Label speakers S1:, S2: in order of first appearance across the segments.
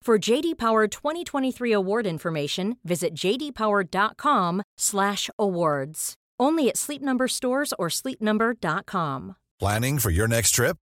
S1: For JD Power 2023 award information, visit jdpower.com/awards. Only at Sleep Number stores or sleepnumber.com.
S2: Planning for your next trip?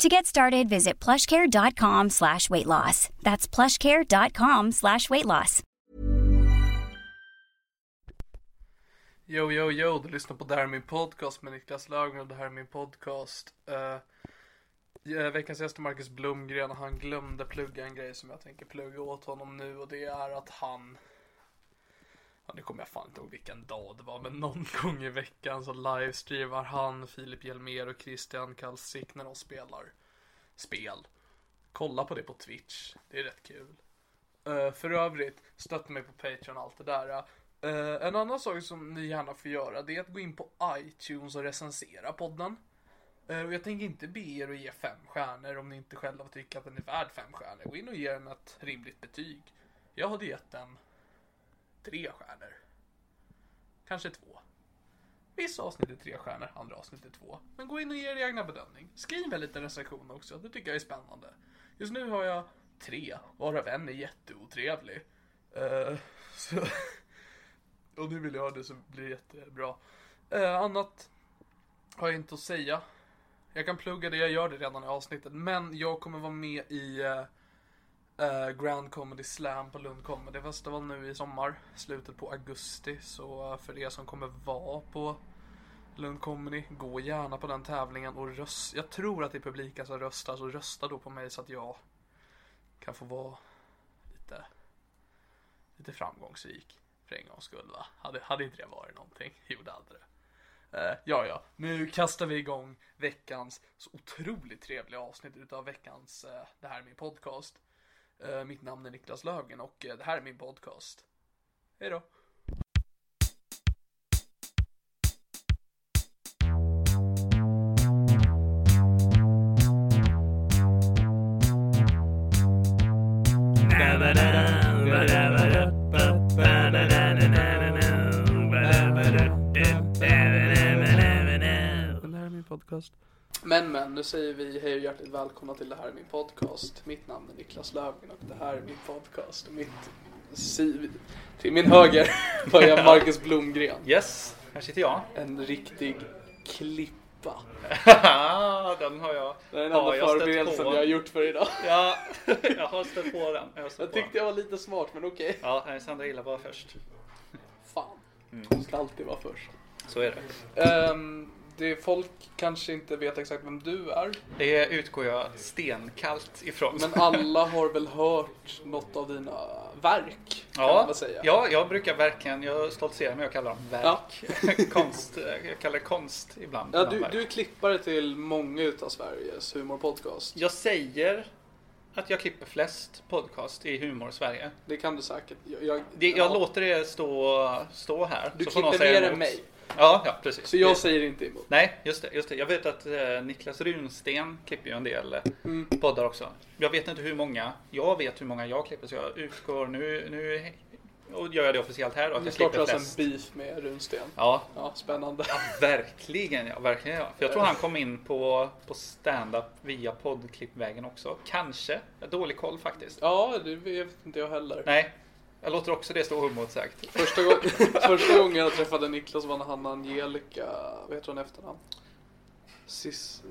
S3: To get started, visit plushcare.com slash weight loss. That's plushcare.com slash weight loss.
S4: Yo, yo, yo, du lyssnar på Det här är min podcast med Niklas Lögren och det här är min podcast. Eh, ja, veckans gäst är Marcus Blomgren och han glömde plugga en grej som jag tänker plugga åt honom nu och det är att han Ja, nu kommer jag fan inte ihåg vilken dag det var, men någon gång i veckan så livestreamar han, Filip Hjelmér och Christian Kalsik när de spelar spel. Kolla på det på Twitch, det är rätt kul. Eh, för övrigt, stötta mig på Patreon och allt det där. Eh, en annan sak som ni gärna får göra, det är att gå in på iTunes och recensera podden. Eh, och jag tänker inte be er att ge fem stjärnor om ni inte själva tycker att den är värd fem stjärnor. Gå in och ge den ett rimligt betyg. Jag hade gett den tre stjärnor. Kanske två. Vissa avsnitt är tre stjärnor, andra avsnitt är två. Men gå in och ge er egna bedömning. Skriv en liten recension också, det tycker jag är spännande. Just nu har jag tre, varav en är jätteotrevlig. Eh, så... Och nu vill jag ha det så blir det jättebra. Eh, annat har jag inte att säga. Jag kan plugga det, jag gör det redan i avsnittet. Men jag kommer vara med i eh, Eh, Grand Comedy Slam på Lund Comedy Festival nu i sommar. Slutet på augusti. Så eh, för er som kommer vara på Lund Comedy, gå gärna på den tävlingen och rösta. Jag tror att det är publiken som röstar, så rösta då på mig så att jag kan få vara lite, lite framgångsrik för en gångs skull va? Hade, hade inte det varit någonting? Gjorde aldrig det. Eh, ja, ja, nu kastar vi igång veckans så otroligt trevliga avsnitt utav veckans eh, Det här är min podcast. Eh, mitt namn är Niklas Lögen och eh, det här är min podcast. Hej då! Det här är min podcast. Men men, nu säger vi hej och hjärtligt välkomna till det här är min podcast. Mitt namn är Niklas Löfgren och det här är min podcast. Och mitt, si, till min höger har jag Marcus Blomgren.
S5: Yes, här sitter jag.
S4: En riktig klippa.
S5: Ah, den har jag.
S4: Det är den
S5: har
S4: enda
S5: jag stött
S4: förberedelsen
S5: på.
S4: jag har gjort för idag.
S5: Ja, jag har stött på den. Jag, har stött
S4: Jag
S5: på
S4: tyckte jag
S5: den.
S4: var lite smart men okej.
S5: Ja, nej, Sandra gillar bara först.
S4: Fan.
S5: Mm.
S4: Jag ska alltid vara först.
S5: Så är det.
S4: Ehm, det folk kanske inte vet exakt vem du är.
S5: Det utgår jag stenkallt ifrån.
S4: Men alla har väl hört något av dina verk? Kan man
S5: ja,
S4: väl säga.
S5: ja, jag brukar verkligen, jag stoltserar med att kalla dem verk. konst, jag kallar det konst ibland.
S4: Ja,
S5: ibland
S4: du,
S5: verk.
S4: du är klippare till många utav Sveriges humorpodcast.
S5: Jag säger att jag klipper flest podcast i Humor-Sverige.
S4: Det kan du säkert. Jag, jag,
S5: Det, jag
S4: ja.
S5: låter det stå, stå här.
S4: Du
S5: så får någon
S4: klipper
S5: säga
S4: mer än
S5: emot.
S4: mig.
S5: Ja, ja precis.
S4: Så jag
S5: Det-
S4: säger inte emot.
S5: Nej, just det, just det. Jag vet att eh, Niklas Runsten klipper ju en del eh,
S4: Mm.
S5: poddar också. Jag vet inte hur många. Jag vet hur många jag klipper så jag utgår nu. nu Och gör jag det officiellt här då? Att
S4: Nu
S5: jag slipper
S4: startar alltså
S5: flest?
S4: en beef med Runsten.
S5: Ja,
S4: Ja, spännande.
S5: verkligen ja. Verkligen, ja. För jag tror han kom in på, på stand-up via poddklippvägen också. Kanske. Jag har dålig koll faktiskt.
S4: Ja, det vet inte jag heller.
S5: Nej, jag låter också det stå oemotsagt.
S4: Första, gång, första gången jag träffade Niklas var när han och Angelica, vad heter hon i efternamn? Sis...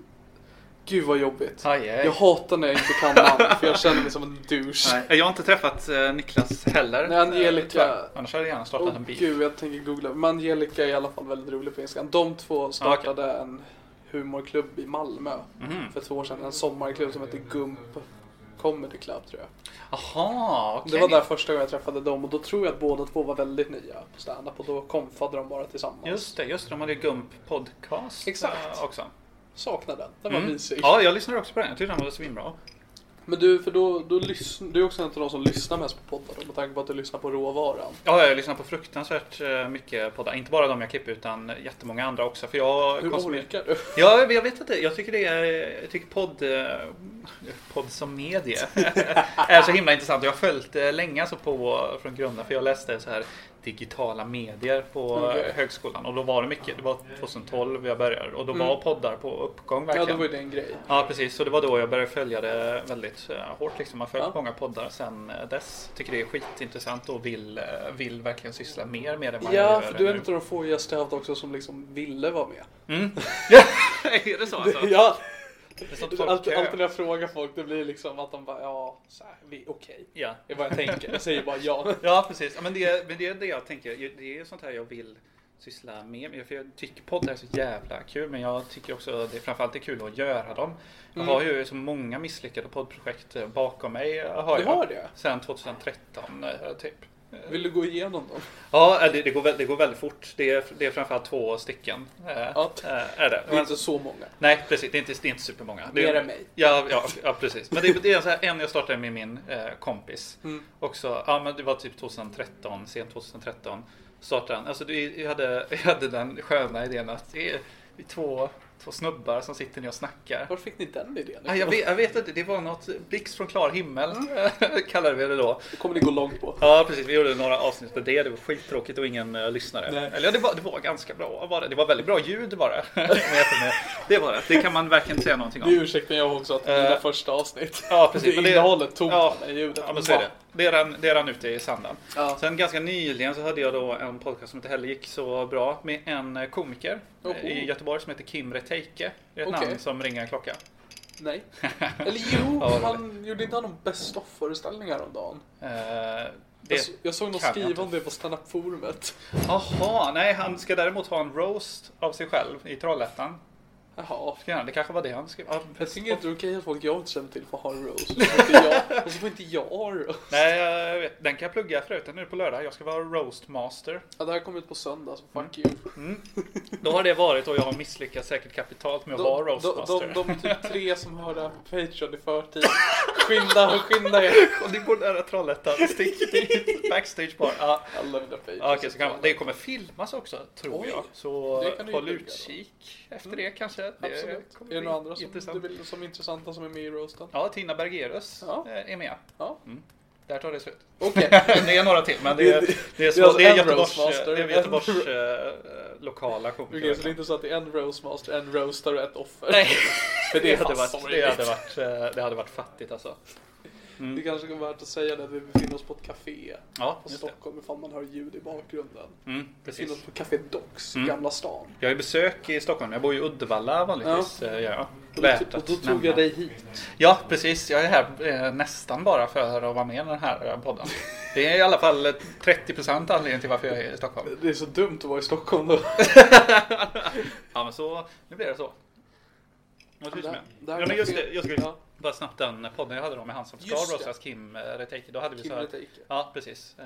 S4: Gud vad jobbigt.
S5: Aj, aj.
S4: Jag hatar när jag inte kan namn, för jag känner mig som en douche.
S5: Nej, jag har inte träffat eh, Niklas heller.
S4: Nej, Angelica-
S5: Eh, tyvärr. Annars hade jag gärna startat
S4: Åh
S5: en bil.
S4: gud, jag tänker googla. Men Angelica är i alla fall väldigt rolig på Instagram. De
S5: Ah,
S4: två startade en humorklubb i Malmö
S5: Mhm.
S4: för två år sedan. En sommarklubb som hette Gump Comedy Club tror jag.
S5: Jaha, okej.
S4: Det var där första gången jag träffade dem och då tror jag att båda två var väldigt nya på standup och då konfade de bara tillsammans.
S5: Just det, just det. De hade ju Gump podcast
S4: Exakt.
S5: eh, också.
S4: Saknar den, den var mysig.
S5: Mm. Ja, jag lyssnade också på den. Jag tyckte den var svinbra.
S4: Men du, för då, då lyssn- du är också en av de som lyssnar mest på poddar då, med tanke på att du lyssnar på råvaran.
S5: Ja, jag lyssnar på fruktansvärt eh, mycket poddar. Inte bara de jag klipper utan jättemånga andra också. För jag
S4: Hur orkar du?
S5: Ja, jag vet inte. Jag tycker det är, jag tycker podd, eh, podd som medie är så himla intressant. Jag har följt det länge alltså på, från grunden för jag läste så här digitala medier på eh,
S4: Okej.
S5: högskolan och då var det mycket. Det var 2012 jag började och då var poddar på uppgång
S4: Mm. Ja,
S5: verkligen.
S4: det var ju det en grej.
S5: Ja precis, så det var då jag började följa det väldigt eh, hårt. Liksom. Jag har följt
S4: Ja.
S5: många poddar sedan eh, dess. Tycker det är skitintressant och vill, eh, vill verkligen syssla mer med det. än vad jag
S4: Ja,
S5: gör
S4: för du är
S5: nu.
S4: en av de få gäster jag haft också som liksom ville vara med.
S5: är det så alltså?
S4: Ja,
S5: Det är sånt Typ folk
S4: alltid,
S5: gör.
S4: alltid när jag frågar folk det blir liksom att de bara ja, så här, vi, okej.
S5: Ja.
S4: Det är vad jag tänker, jag säger bara ja.
S5: Ja, precis. Ja, Men det, men det är det jag tänker. Det är sånt här jag vill syssla med. Men För jag tycker poddar är så jävla kul. Men jag tycker också att det framförallt är kul att göra dem. Jag
S4: Mm.
S5: har ju så många misslyckade poddprojekt eh, bakom mig. eh, Har
S4: Du
S5: jag.
S4: har det?
S5: Sen 2013 eh, typ.
S4: Vill du gå igenom dem?
S5: Ja, eh, det, det, går, väl- det går väldigt fort. Det är, det är framförallt två stycken. eh,
S4: Ja.
S5: eh, Är det.
S4: Det är inte så många.
S5: Nej, precis. Det är inte, det är inte supermånga. Det är,
S4: Mer än mig.
S5: Ja, ja, ja precis. Men det, är- det är så här, en jag startade med min eh, kompis.
S4: Mm.
S5: Också, ja, men det var typ 2013, sent 2013. Startade den. Alltså, det, jag, hade, jag hade den sköna idén att det är två, två snubbar som sitter ner och snackar.
S4: Var fick ni den idén?
S5: Ja, Ah, jag, vet, jag vet inte, det var något blixt från klar himmel
S4: Mm.
S5: kallade vi det då.
S4: Det kommer ni gå långt på.
S5: Ja precis, vi gjorde några avsnitt på det. Det var skittråkigt och ingen eh, lyssnare.
S4: Nej.
S5: Eller ja, det var, det var ganska bra. Var det. det var väldigt bra ljud bara. E. det var det. Det kan man verkligen inte säga någonting
S4: Det
S5: om.
S4: ursäktar jag också att mina första avsnitt.
S5: Eh, Ja, precis.
S4: Det
S5: Men det-
S4: innehållet tog
S5: ja,
S4: man i ljudet.
S5: Ja, men så är det. Det rann, det rann ute i sanden.
S4: Ja.
S5: Sen ganska nyligen så hörde jag då en podcast som inte heller gick så bra med en eh, komiker eh,
S4: Oho.
S5: i Göteborg som heter Kim Reteike. Det är ett
S4: Okej.
S5: namn som ringer en klocka. Eh,
S4: Nej. Eller jo,
S5: Ja, det är
S4: han gjorde inte han någon best of-föreställning häromdagen?
S5: Eh,
S4: Jag,
S5: det
S4: s- jag såg någon
S5: kan jag inte.
S4: skriva om det på standup-forumet.
S5: Jaha, nej han ska däremot ha en roast av sig själv i Trollhättan.
S4: Jaha.
S5: Ja, det kanske var det han skrev. Ja,
S4: Jag tycker inte det är okej att folk jag inte känner till får ha en roast. Och så får inte jag, och så får inte jag ha en roast.
S5: Nej, jag vet. Den kan jag plugga förut. Den är på lördag. Jag ska vara roastmaster.
S4: Ja, det här kommer ut på söndag, så fuck you.
S5: Då har det varit och jag har misslyckats säkert kapitalt med att vara roastmaster.
S4: de, de, de typ tre som hör det här på Patreon i förtid. Skynda, skynda er.
S5: Och det går nära Trollhättan. Stick dit. Backstage bar. Ja.
S4: Alla mina Patreons.
S5: Ja, Okej, så kan det vara. det kommer filmas också, tror
S4: Oj,
S5: jag. Så
S4: det kan du ju
S5: håll
S4: plugga då. Mm.
S5: utkik efter det kanske. Det
S4: Absolut.
S5: kommer
S4: Är det
S5: bli
S4: några andra som
S5: intressant.
S4: du vill som är intressanta som är med i roasten?
S5: Ja, Tina Bergerus
S4: Ja.
S5: eh, är med.
S4: Ja.
S5: Där tar det slut.
S4: Okej.
S5: det är några till, men det är, det är,
S4: Det är
S5: små,
S4: alltså
S5: det är
S4: en
S5: Göteborgs,
S4: roastmaster.
S5: det är Göteborgs eh, lokala
S4: Okej,
S5: komiker.
S4: så det är inte så att det är en roastmaster, en roaster och ett offer?
S5: Nej,
S4: För det,
S5: det hade,
S4: fan
S5: varit, det,
S4: sorgligt.
S5: hade varit, eh, det hade varit fattigt alltså.
S4: Det kanske kan vara värt att säga det att vi befinner oss på ett café
S5: Ja,
S4: på
S5: just det.
S4: Stockholm ifall man hör ljud i bakgrunden.
S5: Mm,
S4: Befinner
S5: precis.
S4: oss på Café Docks, Gamla stan.
S5: Jag har ju besök i Stockholm, jag bor ju i Uddevalla vanligtvis. eh, gör jag.
S4: Och då,
S5: Värt
S4: och
S5: att
S4: då tog
S5: nämna.
S4: jag dig hit.
S5: Ja, precis. Jag är här eh, nästan bara för att vara med i den här eh, podden. Det är i alla fall eh, 30% anledningen till varför jag är i Stockholm.
S4: Det är så dumt att vara i Stockholm då.
S5: Ja, men så nu blir det så. Vad tyst med.
S4: Där- där
S5: ja, men just
S4: kanske-
S5: det, jag skulle
S4: ja.
S5: bara snabbt den podden jag hade då med han som ska
S4: Just det.
S5: rostas, Kim eh, Reteike. Då hade vi
S4: Kim
S5: så här,
S4: Reteike.
S5: Ja, precis. Eh,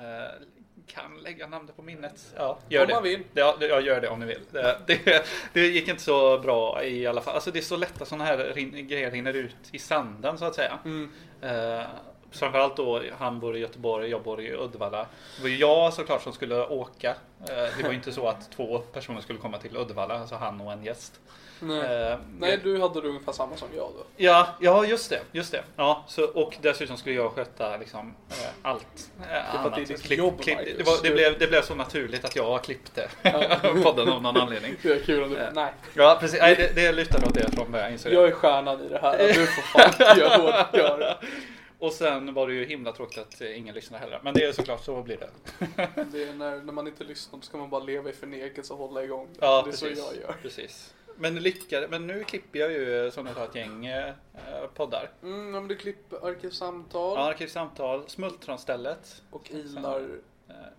S5: kan lägga namnet på minnet. Ja,
S4: Mm.
S5: gör
S4: Om
S5: det.
S4: man vill.
S5: Ja, det- ja, gör det om ni vill. Det, det, det gick inte så bra i
S4: Mm.
S5: alla fall. Alltså det är så lätt att sådana här rin- grejer rinner ut i sanden så att säga. Eh, framförallt då han bor i Göteborg, jag bor i Uddevalla. Det var ju jag såklart som skulle åka. Eh, Det var ju inte så att två personer skulle komma till Uddevalla, alltså han och en gäst.
S4: Nej.
S5: Eh,
S4: Nej, du hade det ungefär samma som jag då.
S5: Ja, ja just det. Just det. Ja, så, och dessutom skulle jag sköta liksom, eh, allt eh,
S4: att det är ditt jobb, Marcus.
S5: det, var, det, blev, det blev så naturligt att jag klippte podden av någon anledning.
S4: Det är kul om du...
S5: Eh,
S4: Nej,
S5: Ja, precis. Nej, det, det lutar åt det från början insåg jag.
S4: jag är stjärnan i det här. Du får fan göra vad du gör.
S5: Och sen var det ju himla tråkigt att eh, ingen lyssnade heller. Men det är såklart, så blir det.
S4: Det är när, när man inte lyssnar då ska man bara leva i förnekelse och hålla igång.
S5: Ja,
S4: det är
S5: precis.
S4: så jag gör.
S5: Precis. Men, lyckade, men nu klipper jag ju som jag sa ett gäng eh, poddar.
S4: Mm, ja, men du klipper arkivsamtal
S5: Ja, Arkivsamtal, Smultronstället.
S4: och ilar...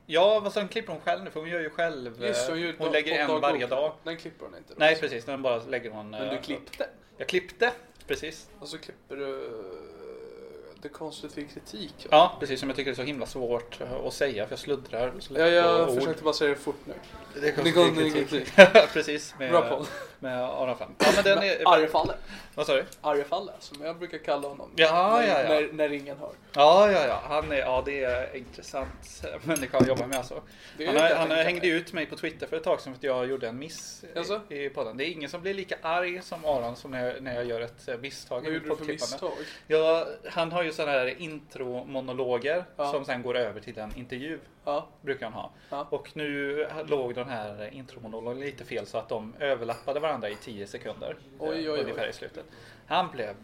S5: Ja, vad sen klipper hon själv nu för hon gör ju själv. eh,
S4: Just det, hon gör
S5: hon
S4: dag-
S5: lägger en
S4: dagbok.
S5: varje dag.
S4: Den klipper hon inte. Då.
S5: Nej precis, den bara lägger hon.
S4: Men du
S5: eh,
S4: klippte.
S5: Jag klippte, precis.
S4: Och så klipper du eh, det konstruktiv kritik. va?
S5: Ja, precis som jag tycker det är så himla svårt eh, att säga för jag sluddrar så lätt
S4: Ja, jag
S5: på
S4: försökte bara säga det fort nu.
S5: ord. Det
S4: Det
S5: kommer
S4: konstruktiv
S5: kritik.
S4: kritik.
S5: precis, med, eh,
S4: Bra podd.
S5: med Aron Flam. Ja, men den är...
S4: Arjefalle.
S5: Vad sa du?
S4: Arjefalle, som jag brukar kalla honom.
S5: Ja,
S4: när,
S5: ja, ja.
S4: När, när ingen hör.
S5: Ja, ja, ja. Han är, ja, det är intressant människa att jobba med alltså.
S4: Det är
S5: Han,
S4: det
S5: har,
S4: jag
S5: han
S4: tänker.
S5: hängde ju ut mig på Twitter för ett tag sedan för att jag gjorde en miss i-
S4: Jaså?
S5: i podden. Det är ingen som blir lika arg som Aron som när jag, när jag gör ett eh, misstag.
S4: Vad
S5: i
S4: gjorde du för
S5: poddklippandet.
S4: misstag?
S5: Ja, han har ju sådana här intromonologer
S4: Ja.
S5: som sen går över till en intervju.
S4: Ja.
S5: Brukar han ha.
S4: Ja.
S5: Och nu låg den här intromonologen lite fel så att de överlappade varandra i 10 sekunder.
S4: Oj,
S5: eh,
S4: oj, oj.
S5: Ungefär i slutet. Han blev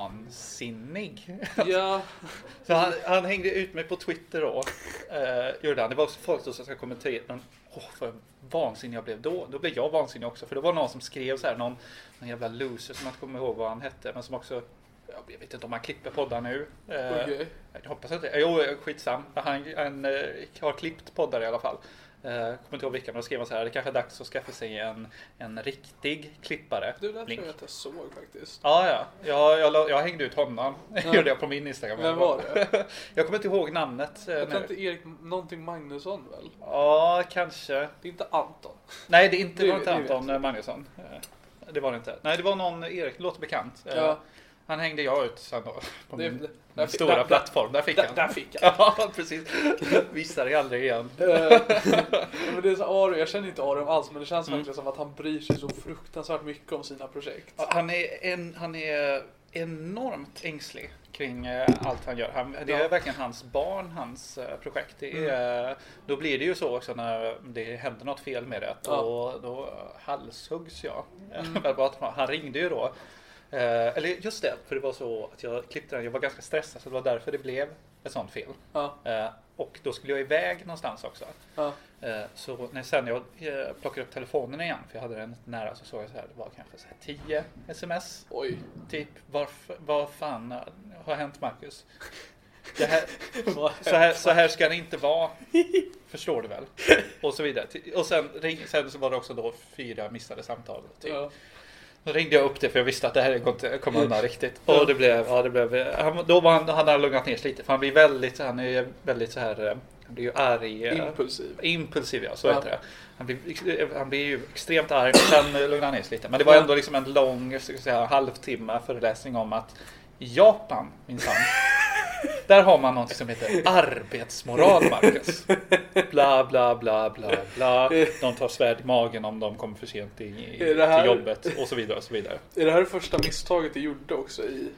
S5: vansinnig.
S4: Ja,
S5: Så han, han hängde ut mig på Twitter då. Eh, gjorde han. Det var också folk som ska kommentera. Men, åh, vad vansinnig jag blev då. Då blev jag vansinnig också. För det var någon som skrev så här. Någon, någon jävla loser som jag inte kommer ihåg vad han hette. Men som också. Jag vet inte om han klipper poddar nu. Eh,
S4: Okej.
S5: Jag hoppas att det. Jo, skitsam. Han, han eh, har klippt poddar i alla fall. Eh, kommer inte ihåg vilka, men då skrev han så här. Det kanske är dags att skaffa sig en, en riktig klippare.
S4: du där tror
S5: Link.
S4: jag att jag såg faktiskt.
S5: Ja, ja. Jag, jag, la- jag hängde ut honom. gjorde jag på min Instagram.
S4: Vem var det?
S5: jag kommer inte ihåg namnet. eh,
S4: Jag tror
S5: nu.
S4: inte Erik någonting Magnusson väl?
S5: Ja, kanske.
S4: Det är inte Anton.
S5: Nej, det, är inte,
S4: Det-
S5: det var inte
S4: det vet
S5: Anton Magnusson. Eh, Det var det inte. Nej, det var någon Erik. Det låter bekant. Eh,
S4: Ja.
S5: Han hängde jag ut sen då. På
S4: Det- det- där
S5: min, min
S4: fick-
S5: Mm. stora
S4: där-
S5: plattform. Där fick
S4: där-
S5: han.
S4: där fick han.
S5: ja, precis. Visar det aldrig igen.
S4: Eh, men det är så Aron, jag känner inte Aron alls men det
S5: Mm.
S4: känns verkligen som att han bryr sig så fruktansvärt mycket om sina projekt.
S5: Han är, en, han är enormt ängslig kring eh, allt han gör. Han, det är
S4: Ja. Mm.
S5: verkligen hans barn, hans eh, projekt. Det är, Då blir det ju så också när det händer något fel med det.
S4: Ja. Mm.
S5: Då, då halshuggs jag. Verbalt. han ringde ju då. Eh, Eller just det, för det var så att jag klippte den. Jag var ganska stressad så det var därför det blev ett sånt fel.
S4: Ja,
S5: Eh, Och då skulle jag iväg någonstans också.
S4: ja.
S5: Eh, Så när sen jag eh, plockade upp telefonen igen, för jag hade den nära, så såg jag så här, det var kanske så här 10 sms.
S4: Oj.
S5: Typ, varf- vad fan har hänt Marcus? Det här, så, här, så här ska det inte vara. Förstår du väl? Och så vidare. Ti- Och sen, ring, sen så var det också då fyra missade samtal. Typ.
S4: Ja.
S5: Då ringde jag upp det för jag visste att det här går inte komma undan riktigt. Och det blev, ja det blev, eh, han, då var han, han hade lugnat ner sig lite. För han blir väldigt, han är ju väldigt så här, eh, han blir ju arg. eh,
S4: Impulsiv.
S5: Impulsiv ja, så
S4: Ja.
S5: heter det. Han blir, han blir ju extremt arg men sen eh, lugnar han ner sig lite. Men det var ändå liksom en lång ska jag säga, halvtimme föreläsning om att Japan minsann. Där har man något som heter arbetsmoral Marcus. Bla bla bla bla bla. De tar svärd i magen om de kommer för sent i, i,
S4: Är det här-
S5: till jobbet och så vidare. Och så vidare.
S4: Är det här det första misstaget du gjorde också i...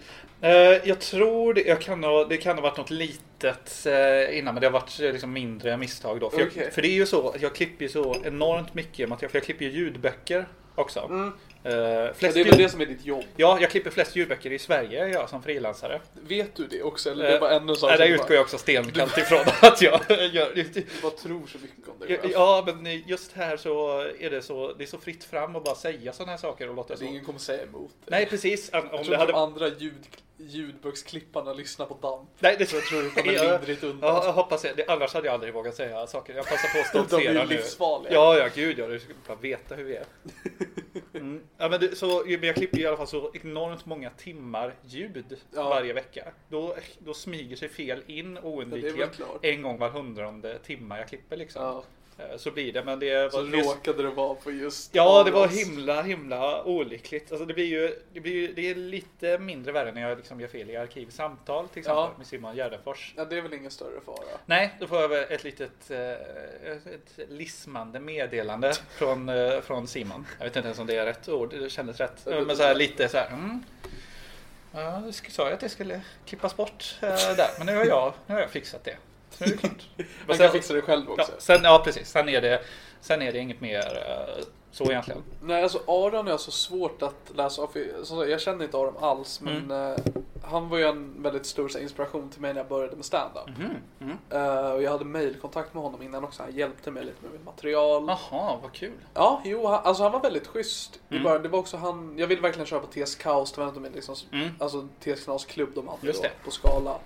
S5: Eh, jag tror det, jag kan ha, det kan ha varit något litet eh, innan men det har varit eh, liksom mindre misstag då. För,
S4: Okej.
S5: jag, för det är ju så att jag klipper ju så enormt mycket material, för jag klipper ju ljudböcker också. Eh,
S4: Mm. Ja,
S5: flest
S4: det är väl
S5: ljud-
S4: det som är ditt jobb.
S5: Ja, jag klipper flest ljudböcker i Sverige jag som frilansare.
S4: Vet du det också eller det är bara
S5: Eh,
S4: ännu en sak
S5: nej,
S4: som
S5: där
S4: du
S5: utgår
S4: bara,
S5: jag också stenkallt ifrån att jag gör det.
S4: du bara tror så mycket om dig
S5: Ja,
S4: själv.
S5: Ja, men just här så är det så, det är så fritt fram att bara säga sådana här saker och låta
S4: Det
S5: så.
S4: är Alltså, ingen kommer säga emot dig.
S5: Nej, precis. Om
S4: jag
S5: om
S4: tror
S5: det
S4: hade...
S5: hade
S4: de andra ljud, ljudböcksklipparna lyssnar på damp.
S5: Nej, det
S4: Jag tror du kommer lindrigt undan.
S5: Ja, jag hoppas det. Det- Annars hade jag aldrig vågat säga saker. Jag passar på att
S4: De är
S5: stoltsera
S4: ju
S5: nu.
S4: livsfarliga.
S5: Ja, ja, gud ja. Du skulle bara veta hur vi är. Mm. Ja, men, det, så, men jag klipper i alla fall så enormt många timmar ljud
S4: Ja.
S5: varje vecka. Då, då smyger sig fel in
S4: Ja, det är
S5: oundvikligen
S4: väl klart.
S5: en gång var hundrade timma jag klipper liksom.
S4: Ja.
S5: Eh, Så blir det, men det
S4: Så
S5: var... det-
S4: råkade det vara på just
S5: Ja, det var
S4: Aros.
S5: himla, himla olyckligt. Alltså det blir ju, det blir ju, det är lite mindre värre när jag liksom gör fel i arkivsamtal till exempel
S4: Ja.
S5: med Simon Gärdenfors.
S4: Ja, det är väl ingen större fara.
S5: Nej, då får jag väl ett litet eh, ett lismande meddelande från, eh, från Simon. Jag vet inte ens om det är rätt ord, det kändes rätt. Eh, Men så här lite så här. Mm. Ja, du sk- sa ju att det skulle klippas bort eh, där, men nu har jag, nu har jag fixat det. Så nu är det klart.
S4: Man
S5: Men
S4: kan
S5: sen-
S4: fixa det själv också.
S5: Ja, sen, ja precis, sen är, det, sen är det inget mer eh, så egentligen.
S4: Nej, alltså Aron är så svårt att läsa av. för- som sagt, Jag känner inte Aron alls, men
S5: Mm.
S4: eh, han var ju en väldigt stor så här, inspiration till mig när jag började med stand-up.
S5: Mhm,
S4: Eh, och jag hade mejlkontakt med honom innan också. Han hjälpte mig lite med mitt material.
S5: Jaha, vad kul.
S4: Ja, jo, han, alltså han var väldigt schysst i
S5: Mm.
S4: början. Det var också han, jag ville verkligen köra på TS Kaos, det var inte min liksom, alltså TS Knas klubb de hade
S5: Mm. Just
S4: då,
S5: det.
S4: på Skala.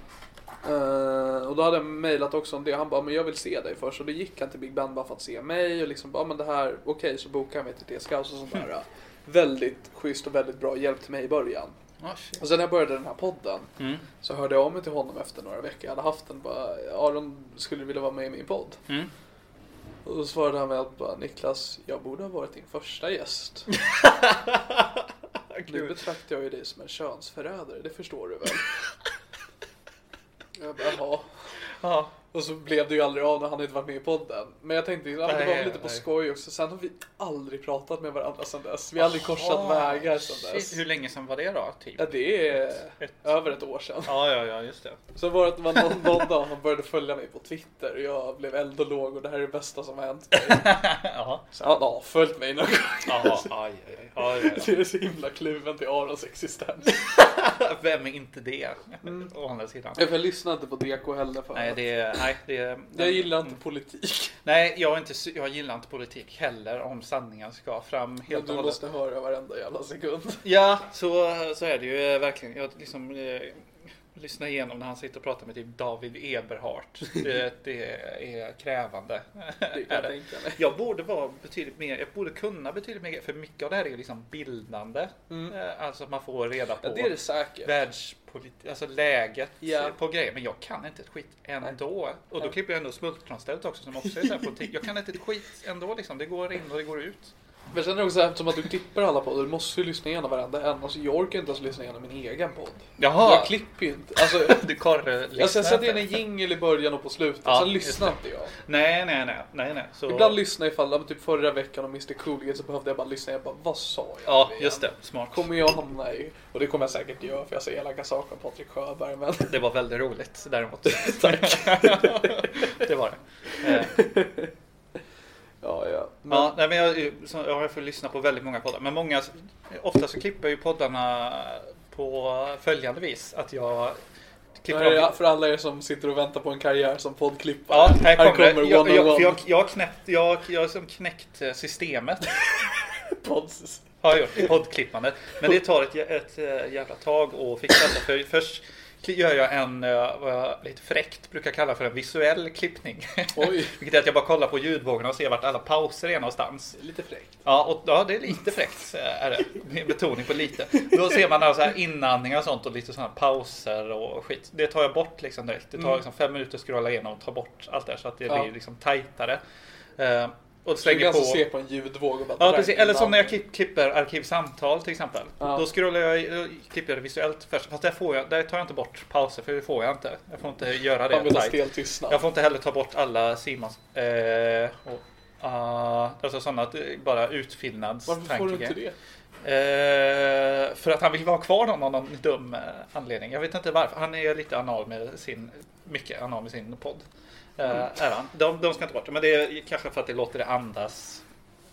S4: Eh, och då hade jag mejlat också om det, han bara men jag vill se dig först. Och då gick han till Big Band bara för att se mig och liksom bara men det här, okej så bokade han mig till TS Kaos och sånt där. Väldigt schysst och väldigt bra hjälp till mig i början.
S5: Ah, shit.
S4: Och sen när jag började den här podden
S5: Mm.
S4: så hörde jag av mig till honom efter några veckor. Jag hade haft den bara, Aron skulle du vilja vara med i min podd?
S5: Mm.
S4: Och då svarade han med att bara, Niklas, jag borde ha varit din första gäst. nu betraktar jag ju dig som en könsförrädare, det förstår du väl? jag bara, jaha.
S5: Ja,
S4: Och så blev det ju aldrig av när han inte var med i podden. Men jag tänkte, ja, men det var
S5: Nej,
S4: väl lite på
S5: nej.
S4: skoj också. Sen har vi aldrig pratat med varandra sedan dess. Vi har aldrig korsat
S5: Ah,
S4: vägar sedan dess.
S5: shit. Hur länge sedan var det då? Typ?
S4: Ja, det är över ett år sedan.
S5: Ja, ja, ja, just det.
S4: Så var det att det var någon, någon dag han började följa mig på Twitter och jag blev eld och låg och det här är det bästa som har hänt mig.
S5: Jaha.
S4: Så han har följt mig någon gång.
S5: Jaha, aj, aj, aj, aj,
S4: Det är så himla kluven till Arons existens.
S5: aj. Vem är inte det?
S4: Mm.
S5: Å andra sidan.
S4: Jag lyssnar inte på DK heller för
S5: Nej,
S4: att
S5: det är... Mm. Nej, det är
S4: jag gillar inte politik.
S5: Nej, jag, är inte, sy- jag gillar inte politik heller om sanningen ska fram helt
S4: Du
S5: och hållet.
S4: måste höra varenda jävla sekund.
S5: Ja, så, så är det ju eh, verkligen. Jag liksom eh, lyssnar igenom när han sitter och pratar med typ David Eberhardt. Det, det är krävande.
S4: Det kan
S5: Är
S4: jag
S5: det.
S4: tänka mig.
S5: Jag borde vara betydligt mer, jag borde kunna betydligt mer, för mycket av det här är ju liksom bildande. Eh, Alltså att man får reda på
S4: Mm. Ja, det är det säkert.
S5: världspolitik, alltså läget
S4: Ja.
S5: eh, på grejer. Men jag kan inte ett skit ändå. Och då klipper jag ändå smultronstället också som också är så här politik. Jag kan inte ett skit ändå liksom. Det går in och det går ut.
S4: Men sen är det också så här, eftersom att du tippar alla poddar, du måste ju lyssna igenom varenda en. Alltså, jag orkar inte ens lyssna igenom min egen podd.
S5: Jaha.
S4: Jag klipper ju inte. Alltså,
S5: Du korre
S4: alltså, jag sätter in en jingle i början och på slutet,
S5: Ja,
S4: sen
S5: just
S4: lyssnar
S5: det.
S4: inte jag.
S5: Nej, nej, nej. nej, nej. Så...
S4: Ibland lyssnar jag ifall, ja, men typ förra veckan om Mr Coolgate så behövde jag bara lyssna. Jag bara, vad sa jag?
S5: Ja,
S4: igen?
S5: just det. Smart.
S4: Kommer jag hamna i, och det kommer jag säkert göra för jag säger elaka saker om Patrik Sjöberg. Men
S5: Det var väldigt roligt däremot. Tack. det var det. Eh,
S4: ja, ja. Men,
S5: ja, nej, men jag, så, ja, jag får lyssna på väldigt många poddar. Men många, ofta så klipper ju poddarna på följande vis. Att jag klipper
S4: här är
S5: av-
S4: det för alla er som sitter och väntar på en karriär som poddklippare.
S5: Ja, här kommer, det.
S4: one
S5: jag, jag,
S4: on
S5: för jag,
S4: one
S5: jag, har knäppt, jag, jag har som knäckt eh, systemet.
S4: podds.
S5: Har jag gjort i poddklippandet. Men det tar ett, jä- ett eh, jävla tag att fixa. Alltså, för först gör jag en, eh, vad jag lite fräckt brukar kalla för en visuell klippning.
S4: Oj.
S5: Vilket är att jag bara kollar på ljudvågorna och ser vart alla pauser är någonstans.
S4: Lite fräckt.
S5: Ja, och, ja det är lite fräckt. eh, Är det. det är betoning på lite. Då ser man alltså här inandningar och sånt och lite sådana pauser och skit. Det tar jag bort liksom direkt. Det tar liksom fem minuter att scrolla igenom och ta bort allt det här så att det
S4: Mm. Ja.
S5: blir liksom tajtare. Eh, och
S4: Du kan
S5: slänger på...
S4: alltså se på en ljudvåg och bara
S5: Ja,
S4: dra
S5: precis.
S4: in
S5: Eller som
S4: namn.
S5: när jag klipp, klipper arkivsamtal till exempel.
S4: Ja.
S5: Då scrollar jag, då klipper jag det visuellt först. Fast där, får jag, där tar jag inte bort pauser för det får jag inte. Jag får inte göra det.
S4: Använda
S5: tajt.
S4: stel tystnad.
S5: Jag får inte heller ta bort alla Simons... Eh, och, ah, alltså sådana att det är bara utfyllnadstankegrejer.
S4: Varför får du inte det?
S5: Eh, för att han vill vara kvar någon av någon dum eh, anledning. Jag vet inte varför. Han är lite anal med sin, mycket anal med sin podd. Eh,
S4: Mm.
S5: är han. De, de ska inte bort det, men det är kanske för att det låter det andas.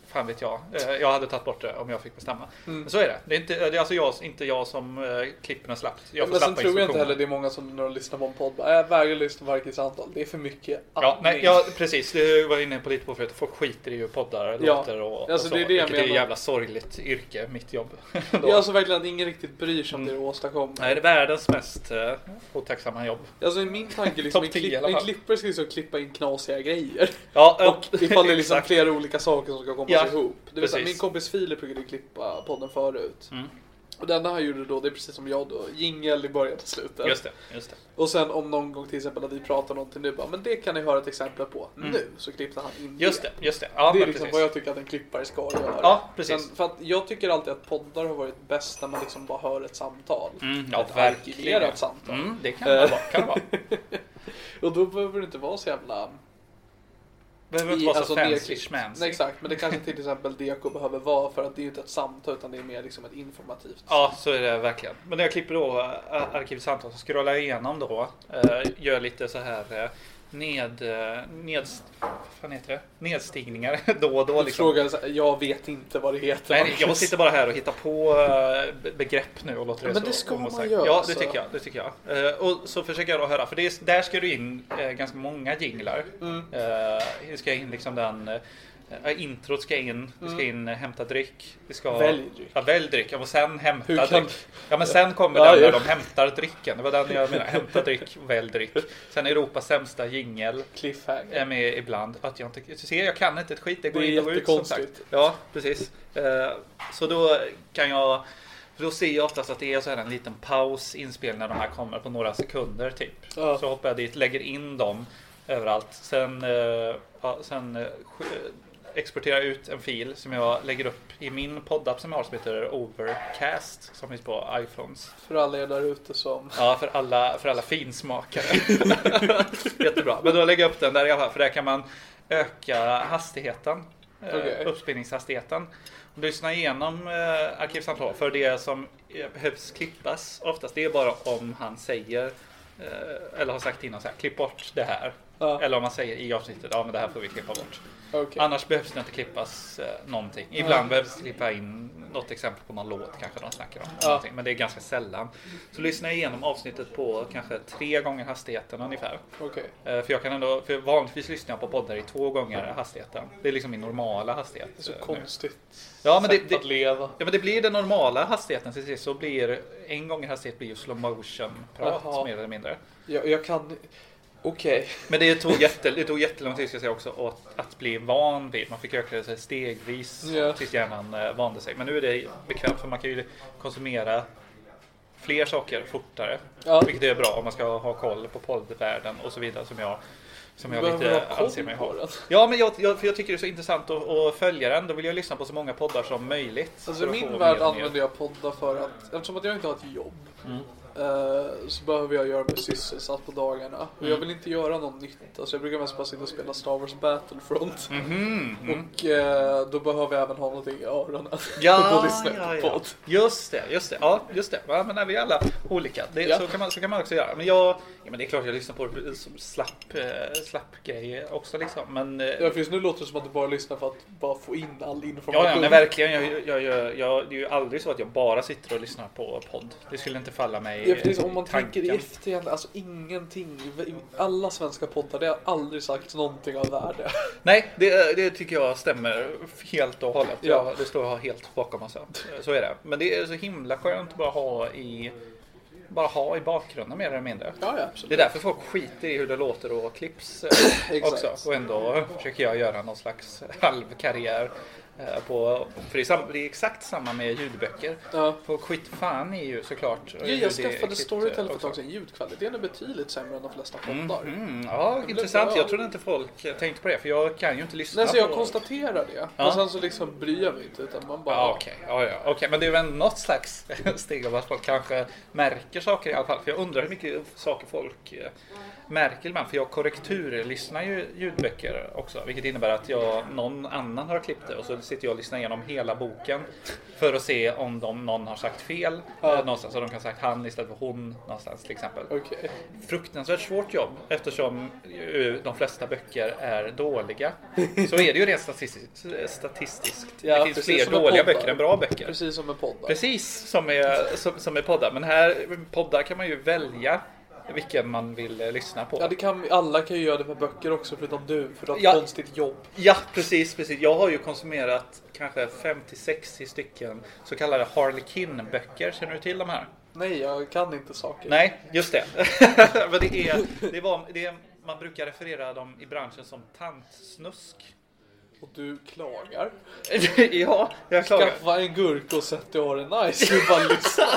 S5: Fan vet jag. Eh, jag hade tagit bort det om jag fick bestämma.
S4: Mm.
S5: Men så är det. Det är, inte, det är alltså jag, inte jag som eh, klipper den slappt. Jag får
S4: Men sen
S5: slappa
S4: tror jag inte
S5: instruktioner.
S4: heller det är många som när de lyssnar på en podd bara, jag vägrar lyssna på Arkivs antal. Det är för mycket
S5: Ja,
S4: andning."
S5: nej, ja, precis. Det var jag inne på lite på förut. Folk skiter i hur poddar
S4: Ja.
S5: låter och,
S4: Alltså,
S5: och så.
S4: det är det jag
S5: vilket är ett
S4: menar.
S5: jävla sorgligt yrke, mitt jobb.
S4: Det är alltså verkligen att ingen riktigt bryr sig om det du åstadkommer.
S5: Mm. Nej, det är världens mest eh, otacksamma jobb.
S4: Alltså i min tanke liksom, en,
S5: Topp 10 i
S4: klipp,
S5: alla
S4: en
S5: fall.
S4: klippare ska liksom klippa in knasiga grejer.
S5: Ja,
S4: Och ifall det är liksom
S5: exakt.
S4: flera olika saker som ska komma
S5: Ja,
S4: ihop. Du vet, så här,
S5: precis. Mm.
S4: min kompis Filip brukade klippa podden förut. Och det enda han gjorde då, det är precis som jag då, jingel i början och slutet.
S5: Just det, just det.
S4: Och sen om någon gång till exempel att vi pratar någonting nu, bara, men det kan ni höra ett exempel på nu. Så klippte han in
S5: Mm. Just det, just det. Ja,
S4: det är
S5: men
S4: liksom
S5: precis.
S4: vad jag tycker att en klippare ska göra.
S5: Ja, precis.
S4: Sen, för att jag tycker alltid att poddar har varit bäst när man liksom bara hör ett samtal.
S5: Mm, ja,
S4: ett
S5: verkligen.
S4: arkiverat samtal.
S5: Mm, det kan det vara. Kan det vara.
S4: Och då behöver det inte vara så jävla...
S5: behöver inte
S4: i-
S5: vara så
S4: alltså,
S5: fancy
S4: nerklippt. Nej,
S5: schmancy.
S4: exakt, men det kanske till exempel Deko behöver vara för att det är ju inte ett samtal utan det är mer liksom ett informativt.
S5: Ja, så är det verkligen. Men när jag klipper då äh, arkivsamtal så scrollar jag igenom då. Äh, gör lite så här äh, ned, äh, ned, vad fan heter det? nedstigningar då och då.
S4: Jag
S5: Liksom.
S4: frågar så här, jag vet inte vad det heter.
S5: Nej, jag sitter bara här och hittar på eh, be- begrepp nu och låter det
S4: Men
S5: stå
S4: det ska man
S5: oemotsagt.
S4: göra,
S5: Ja, det
S4: så.
S5: tycker jag. Det tycker jag. Eh, Och så försöker jag då höra, för det är, där ska du in eh, ganska många jinglar. Mm. Ska in liksom den eh, introt ska in, det ska in eh, hämta dryck. Det ska,
S4: Mm. Välj dryck.
S5: Ja, välj dryck. Ja, och sen hämta
S4: Hur kan-
S5: dryck. Ja, men sen kommer
S4: Ja,
S5: den
S4: ja.
S5: när de hämtar drycken. Det var den jag menade. Hämta dryck, välj dryck. Sen Europas sämsta jingel
S4: Cliffhanger.
S5: är med ibland. Att jag inte, du ser, jag kan inte ett skit. Det går
S4: Det är
S5: in och ut som sagt.
S4: jättekonstigt.
S5: Ja, precis. Eh, Så då kan jag, för då ser jag oftast att det är så här en liten paus inspelning när de här kommer på några sekunder typ.
S4: Ja.
S5: Så hoppar jag dit, lägger in dem överallt. Sen, eh, ja, sen eh, sk- exporterar jag ut en fil som jag lägger upp i min poddapp som jag har som heter Overcast som finns på iPhones.
S4: För alla er där ute som...
S5: Ja, för alla, för alla finsmakare. Jättebra. Men då lägger jag upp den där i alla fall, för där kan man öka hastigheten. eh,
S4: Okej.
S5: Uppspelningshastigheten. Lyssna igenom eh, arkivsamtal, för det som eh, behövs klippas oftast, det är bara om han säger eh, eller har sagt innan så här, klipp bort det här.
S4: Ja.
S5: Eller om man säger i avsnittet, ja men det här får vi klippa bort.
S4: Okej.
S5: Annars behövs det inte klippas eh, någonting. Ibland behövs klippa in något exempel på någon låt kanske de snackar om. någonting, Men det är ganska sällan. Så lyssna igenom avsnittet på kanske tre gånger hastigheten ungefär.
S4: Okej.
S5: Eh, För jag kan ändå, för vanligtvis lyssnar jag på poddar i två gånger hastigheten. Det är liksom min normala hastighet.
S4: Så
S5: eh, nu.
S4: konstigt
S5: Ja men
S4: sätt
S5: det,
S4: att
S5: det,
S4: leva.
S5: ja men det blir den normala hastigheten till sist. Så blir en gång i hastighet blir ju slow motion
S4: Jaha.
S5: prat mer eller mindre.
S4: Jag, jag kan... Okej.
S5: Men det tog, jätte, det tog jättelång tid ska jag säga också att, att bli van vid. Man fick öka det så här stegvis
S4: Ja.
S5: tills hjärnan eh, vande sig. Men nu är det bekvämt för man kan ju konsumera fler saker fortare.
S4: Ja.
S5: Vilket är bra om man ska ha koll på poddvärlden och så vidare som jag, som
S4: Du
S5: jag
S4: behöver
S5: lite
S4: ha koll
S5: anser mig
S4: på
S5: ha.
S4: den.
S5: Ja, men jag, jag, för jag tycker det är så intressant att, att följa den. Då vill jag lyssna på så många poddar som möjligt.
S4: Alltså i
S5: för att
S4: min
S5: få
S4: värld
S5: mer Mm. och mer.
S4: använder jag poddar för att, eftersom att jag inte har ett jobb, eh, så behöver jag göra mig sysselsatt på dagarna. Och
S5: Mm.
S4: jag vill inte göra någon nytta, så jag brukar mest bara sitta och spela Star Wars Battlefront.
S5: Mm-hmm,
S4: Och eh, då behöver jag även ha någonting i öronen. och då
S5: mm. Ja,
S4: lyssnar jag
S5: ja,
S4: på
S5: ja.
S4: podd.
S5: Just det, just det. Ja, just det. Ja, men nej, vi är alla olika. Det,
S4: Ja.
S5: så, kan man, så kan man också göra. Men jag, ja, men det är klart jag lyssnar på det som slapp, eh, slapp grejer också liksom. Men eh,
S4: Ja, för just nu låter det som att du bara lyssnar för att bara få in all information.
S5: ja, ja, men verkligen. Jag, jag, jag, jag, det är ju aldrig så att jag bara sitter och lyssnar på podd. Det skulle inte falla mig
S4: Ja, för det är så, om man
S5: i tanken.
S4: tänker i efterhand, alltså ingenting. i Alla svenska poddar, det har aldrig sagt någonting av värde.
S5: Nej, det, det tycker jag stämmer helt och hållet.
S4: Ja.
S5: Ja. Det står jag helt bakom oss. Så är det. Men det är så himla skönt att bara ha i, bara ha i bakgrunden mer eller mindre.
S4: Ja, ja, absolut.
S5: Det är därför folk skiter i hur det låter och klipps eh,
S4: Exakt.
S5: också. Och ändå försöker jag göra någon slags eh, halvkarriär. eh, På, för det är, sam, det är exakt samma med ljudböcker.
S4: Ja.
S5: Folk skit fan i ju såklart.
S4: Ja, jag skaffade Storytel för ett tag sedan. Ljudkvaliteten är betydligt sämre än de flesta poddar.
S5: eh, Mm, ja, intressant.
S4: bra.
S5: Jag trodde inte folk eh, tänkte på det. För jag kan ju inte lyssna
S4: Nej, så jag
S5: på...
S4: konstaterar det.
S5: Ja.
S4: Och sen så liksom bryr jag mig inte utan man bara...
S5: Ja, okej. Ja, ja. Okej, Men det är väl något slags steg av att folk kanske märker saker i alla fall. För jag undrar hur mycket saker folk eh, märker ibland. För jag korrekturlyssnar ju ljudböcker också. Vilket innebär att jag, någon annan har klippt det och så sitter jag och lyssnar igenom hela boken. För att se om de, någon har sagt fel eh, någonstans. Så de kan ha sagt han istället för hon någonstans till exempel.
S4: Okej.
S5: Fruktansvärt svårt jobb eftersom ju de flesta böcker är dåliga. Så är det ju rent statistiskt. statistiskt.
S4: Ja,
S5: det finns
S4: precis
S5: fler
S4: som med
S5: dåliga
S4: poddar.
S5: böcker än bra böcker. Precis,
S4: Precis som med poddar.
S5: som, är, som, som är poddar. Men här, poddar kan man ju välja vilken man vill eh, lyssna på.
S4: Ja, det kan, alla kan ju göra det med böcker också förutom du för du har ett
S5: Ja.
S4: konstigt jobb.
S5: Ja, precis, precis. Jag har ju konsumerat kanske 50-60 stycken så kallade Harlequin-böcker. Känner du till de här?
S4: Nej, jag kan inte saker.
S5: Nej, just det. Men det är, det var, det är, man brukar referera dem i branschen som tantsnusk.
S4: Och du klagar.
S5: ja, jag klagar.
S4: Skaffa en gurka och sätt dig och ha det nice. Du bara lyssnar.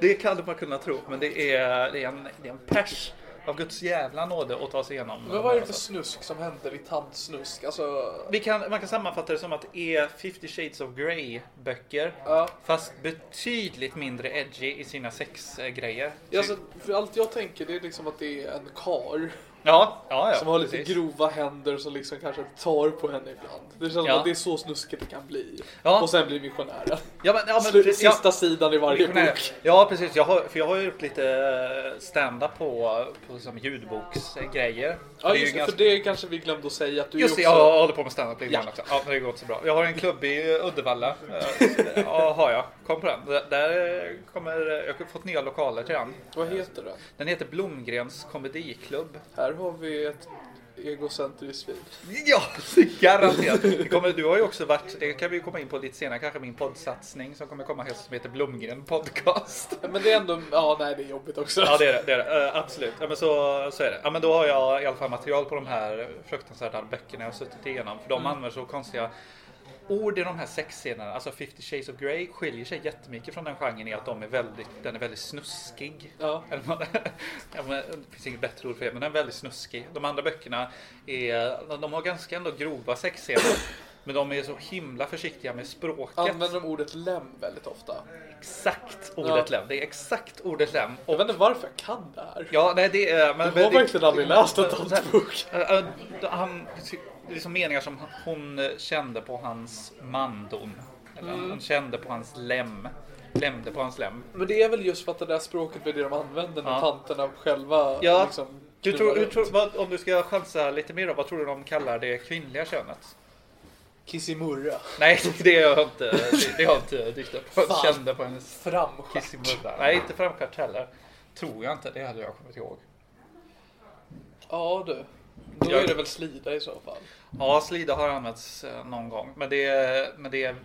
S5: Det kan man kunna tro, men det är, det är, en, det är en pers av Guds jävla nåde att ta sig igenom. Alltså,
S4: Men vad är det för snusk som händer i tandsnusk? Alltså,
S5: Vi kan, man kan sammanfatta det som att det är 50 shades of Grey böcker.
S4: Ja.
S5: Fast betydligt mindre edgy i sina eh, sexgrejer.
S4: ja, alltså, för allt jag tänker det är liksom att det är en kar
S5: ja, ja, ja.
S4: som har lite
S5: precis.
S4: grova händer som liksom kanske tar på henne ibland. Det känns
S5: Ja.
S4: som att det är så snuskigt det kan bli.
S5: Ja.
S4: Och sen blir missionären.
S5: Ja, men, ja, men,
S4: Slut-
S5: precis, ja.
S4: Sista sidan i varje
S5: Nej,
S4: bok.
S5: Ja precis, jag har, för jag har ju gjort lite eh, stand-up på, på som ljudboksgrejer.
S4: Ja
S5: är ju
S4: just det,
S5: ganska-
S4: för det kanske vi glömde att säga att du
S5: Just det,
S4: är också...
S5: jag håller på med stand-up lite
S4: Ja.
S5: grann också. Ja, men det går inte så bra. Jag har en klubb i Uddevalla. Eh, Ja, har jag. Kom på den. Där- Där kommer, jag har fått nya lokaler till den.
S4: Vad heter den?
S5: Den heter Blomgrens komediklubb.
S4: Här har vi ett egocentriskt svin.
S5: Ja, garanterat. Det kommer, du har ju också varit, det kan vi ju komma in på lite senare, kanske min poddsatsning som kommer komma helt som heter Blomgren podcast.
S4: Men det är ändå, ja nej det är jobbigt också.
S5: Ja det är det, det, är det. Eh, absolut. Ja, men så, så är det. Ja, men då har jag i alla fall material på de här fruktansvärda böckerna jag har suttit igenom. För de
S4: Mm.
S5: använder så konstiga ord i de här sexscenerna. Alltså 50 shades of Grey skiljer sig jättemycket från den genren i att de är väldigt, den är väldigt snuskig.
S4: Ja.
S5: Eller vad- ja, men, det finns inget bättre ord för det, men den är väldigt snuskig. De andra böckerna är, de har ganska ändå grova sexscener. Men de är så himla försiktiga med språket.
S4: Använder de ordet lem väldigt ofta?
S5: Exakt ordet lem. Det är exakt ordet lem.
S4: Jag vet inte varför jag kan det här.
S5: Ja, nej det är... Men,
S4: Jag har
S5: det-
S4: verkligen aldrig läst en tantbok.
S5: Eh, eh, Han, det är som meningar som hon eh, kände på hans mandon. Eller hon kände på hans lem. Lämde på hans lem.
S4: Men det är väl just för att det där språket blir det de använder när
S5: Ja.
S4: tanterna själva
S5: Ja.
S4: liksom...
S5: Du
S4: knullar
S5: tror, hur
S4: runt.
S5: tror, vad, om du ska chansa lite mer då, vad tror du de kallar det kvinnliga könet?
S4: Kissimurra.
S5: Nej, det har jag inte, det, det har jag inte dykt upp. Jag
S4: Fan.
S5: kände på hennes
S4: Framskärt.
S5: kiss i munnen. Nej, inte framstjärt heller. Tror jag inte, det hade jag kommit ihåg.
S4: Ja du. Då
S5: Jag-
S4: är det väl slida i så fall.
S5: Ja, slida har använts eh, någon gång. Men det är, men det är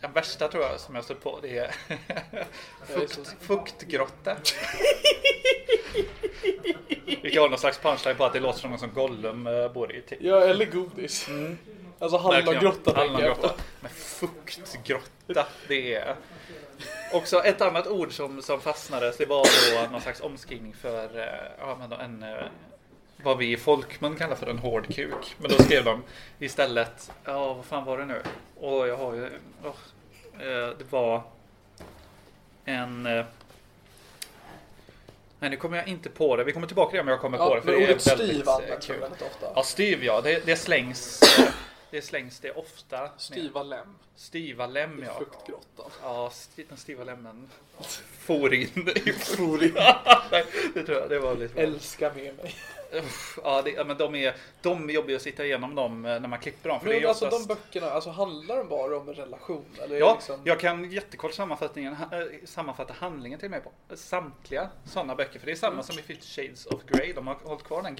S5: den värsta tror jag som jag stött på. Det är fukt, fuktgrotta. Vi kan ha någon slags punchline på att det låter som någon som Gollum eh, bor i. typ.
S4: Ja, eller godis. Alltså hallongrotta tänker jag på.
S5: Hallongrotta. Men fuktgrotta, det är... Också ett annat ord som, som fastnades, det var då någon slags omskrivning för eh, ja, men då en, eh, vad vi i folkmun kallar för en hård kuk. Men då skrev de istället, ja vad fan var det nu? Åh, jag har ju... åh, eh, det var en... eh, Nej, nu kommer jag inte på det. Vi kommer tillbaka till det om jag kommer på
S4: Ja,
S5: det. För
S4: men
S5: det är
S4: ordet
S5: väldigt,
S4: styv
S5: eh,
S4: används
S5: kul.
S4: väl väldigt ofta.
S5: Ja, styv ja. Det, det slängs. Det slängs det ofta.
S4: Styva lem.
S5: Styva lem ja.
S4: Fuktgrottan.
S5: Ja, st- den styva lemmen for in i
S4: Rolig.
S5: Nej, det tror jag. Det var lite bra.
S4: Älska med mig.
S5: Uff, Ja, det, ja, men de är, de är jobbiga att sitta igenom dem eh, när man klipper dem. För det är
S4: Men
S5: ju
S4: alltså
S5: oftast...
S4: de böckerna, alltså handlar de bara om en relation? Eller är det
S5: Ja,
S4: liksom...
S5: jag kan jättekort sammanfattningen, ha- eh, sammanfatta handlingen till mig på samtliga sådana böcker. För det är
S4: Mm.
S5: samma som i Fifty Shades of Grey. De har hållit kvar den